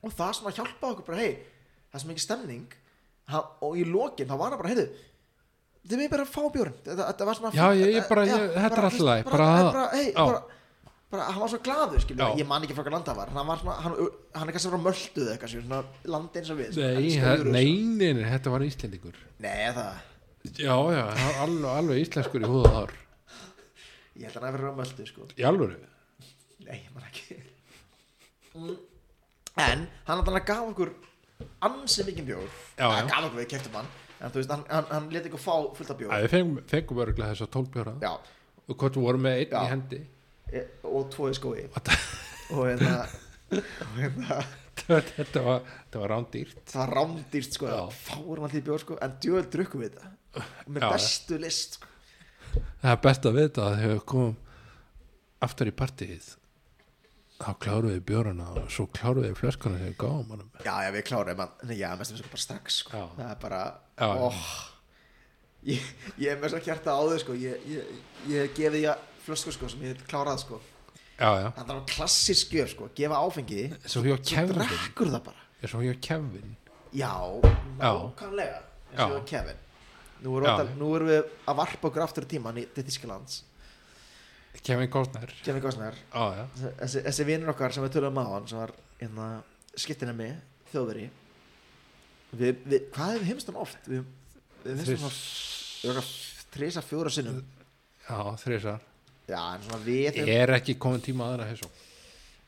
Speaker 2: og það svona hjálpaði okkur bara hei, það er sem ekki stemning ha, og í lokin þá var það bara heyrðu þið með bara að fá bjórn þetta, þetta var svona eh,
Speaker 1: Já, ég- ég bara- ég- þetta er allt í lagi,
Speaker 2: bara,
Speaker 1: bara-
Speaker 2: bara, bara, hey,
Speaker 1: já.
Speaker 2: bara, bara hann var svo glaður skilur,
Speaker 1: Já.
Speaker 2: ég man ekki frá hvað landa var hann var svona, hann, hann er kannski frá mölduð eitthvað skilur, svona landi eins og við sko. sem
Speaker 1: Nei,
Speaker 2: elskar
Speaker 1: það-
Speaker 2: Eurovision.
Speaker 1: nei, nei, nei, þetta var íslendingur
Speaker 2: nei, það,
Speaker 1: Já, já, það var alveg, alveg íslenskur í húða þar
Speaker 2: ég held að hann að vera frá möldu sko.
Speaker 1: Í alvöru
Speaker 2: nei, ég man ekki Mm. en hann hann gaf okkur ansi mikið bjór
Speaker 1: Já,
Speaker 2: Hann
Speaker 1: já.
Speaker 2: gaf okkur við keftum hann en þú veist, hann, hann, hann leti ykkur fá fullt af bjór
Speaker 1: Æ, við fengum, fengum örgulega þess að tólbjóra
Speaker 2: já,
Speaker 1: og hvort við vorum með einn
Speaker 2: Já.
Speaker 1: í hendi
Speaker 2: e- og tvo í skói
Speaker 1: Og það-
Speaker 2: og hérna og hérna
Speaker 1: þetta var, þetta var rándýrt
Speaker 2: það var rándýrt sko
Speaker 1: Já.
Speaker 2: fárum allir bjór sko en djöðl drukkum við þetta Og með
Speaker 1: Já, já.
Speaker 2: bestu list sko.
Speaker 1: það er best að vita að þegar við komum aftur í partíið þá kláruðu við bjórana og svo kláruðu við flöskana sem við gáum hann
Speaker 2: já já við klárum en nei, já mestum við sko bara strax sko
Speaker 1: Já.
Speaker 2: það er bara
Speaker 1: Já, já.
Speaker 2: oh, ég, ég er með svo hjarta á þau sko ég, ég, ég gefið ég flösku sko sem ég hef klárað sko
Speaker 1: já, já,
Speaker 2: það er klassisk gjöf sko gefa áfengi
Speaker 1: eins og hjá Kevin
Speaker 2: drakkur það bara
Speaker 1: eins og hjá Kevin
Speaker 2: Já,
Speaker 1: Já.
Speaker 2: nákvæmlega eins
Speaker 1: Já.
Speaker 2: og við Kevin nú erum,
Speaker 1: Já.
Speaker 2: alltaf, nú erum við að varpa okkur aftur í tíman í til Þísklands
Speaker 1: Kevin Costner
Speaker 2: Kevin Costner,
Speaker 1: já, já,
Speaker 2: þessi, þessi vinnur okkar sem við töluðum á hann sem var hérna, skiptina mig, þjóðveri við, við, hvað hefum við heimst hann oft? Við, við heimst hann oft
Speaker 1: Þriss-
Speaker 2: örugglega þrisa fjóra sinnum
Speaker 1: já, þrissar
Speaker 2: já, en svona við
Speaker 1: er ekki komin tíma aðra hessu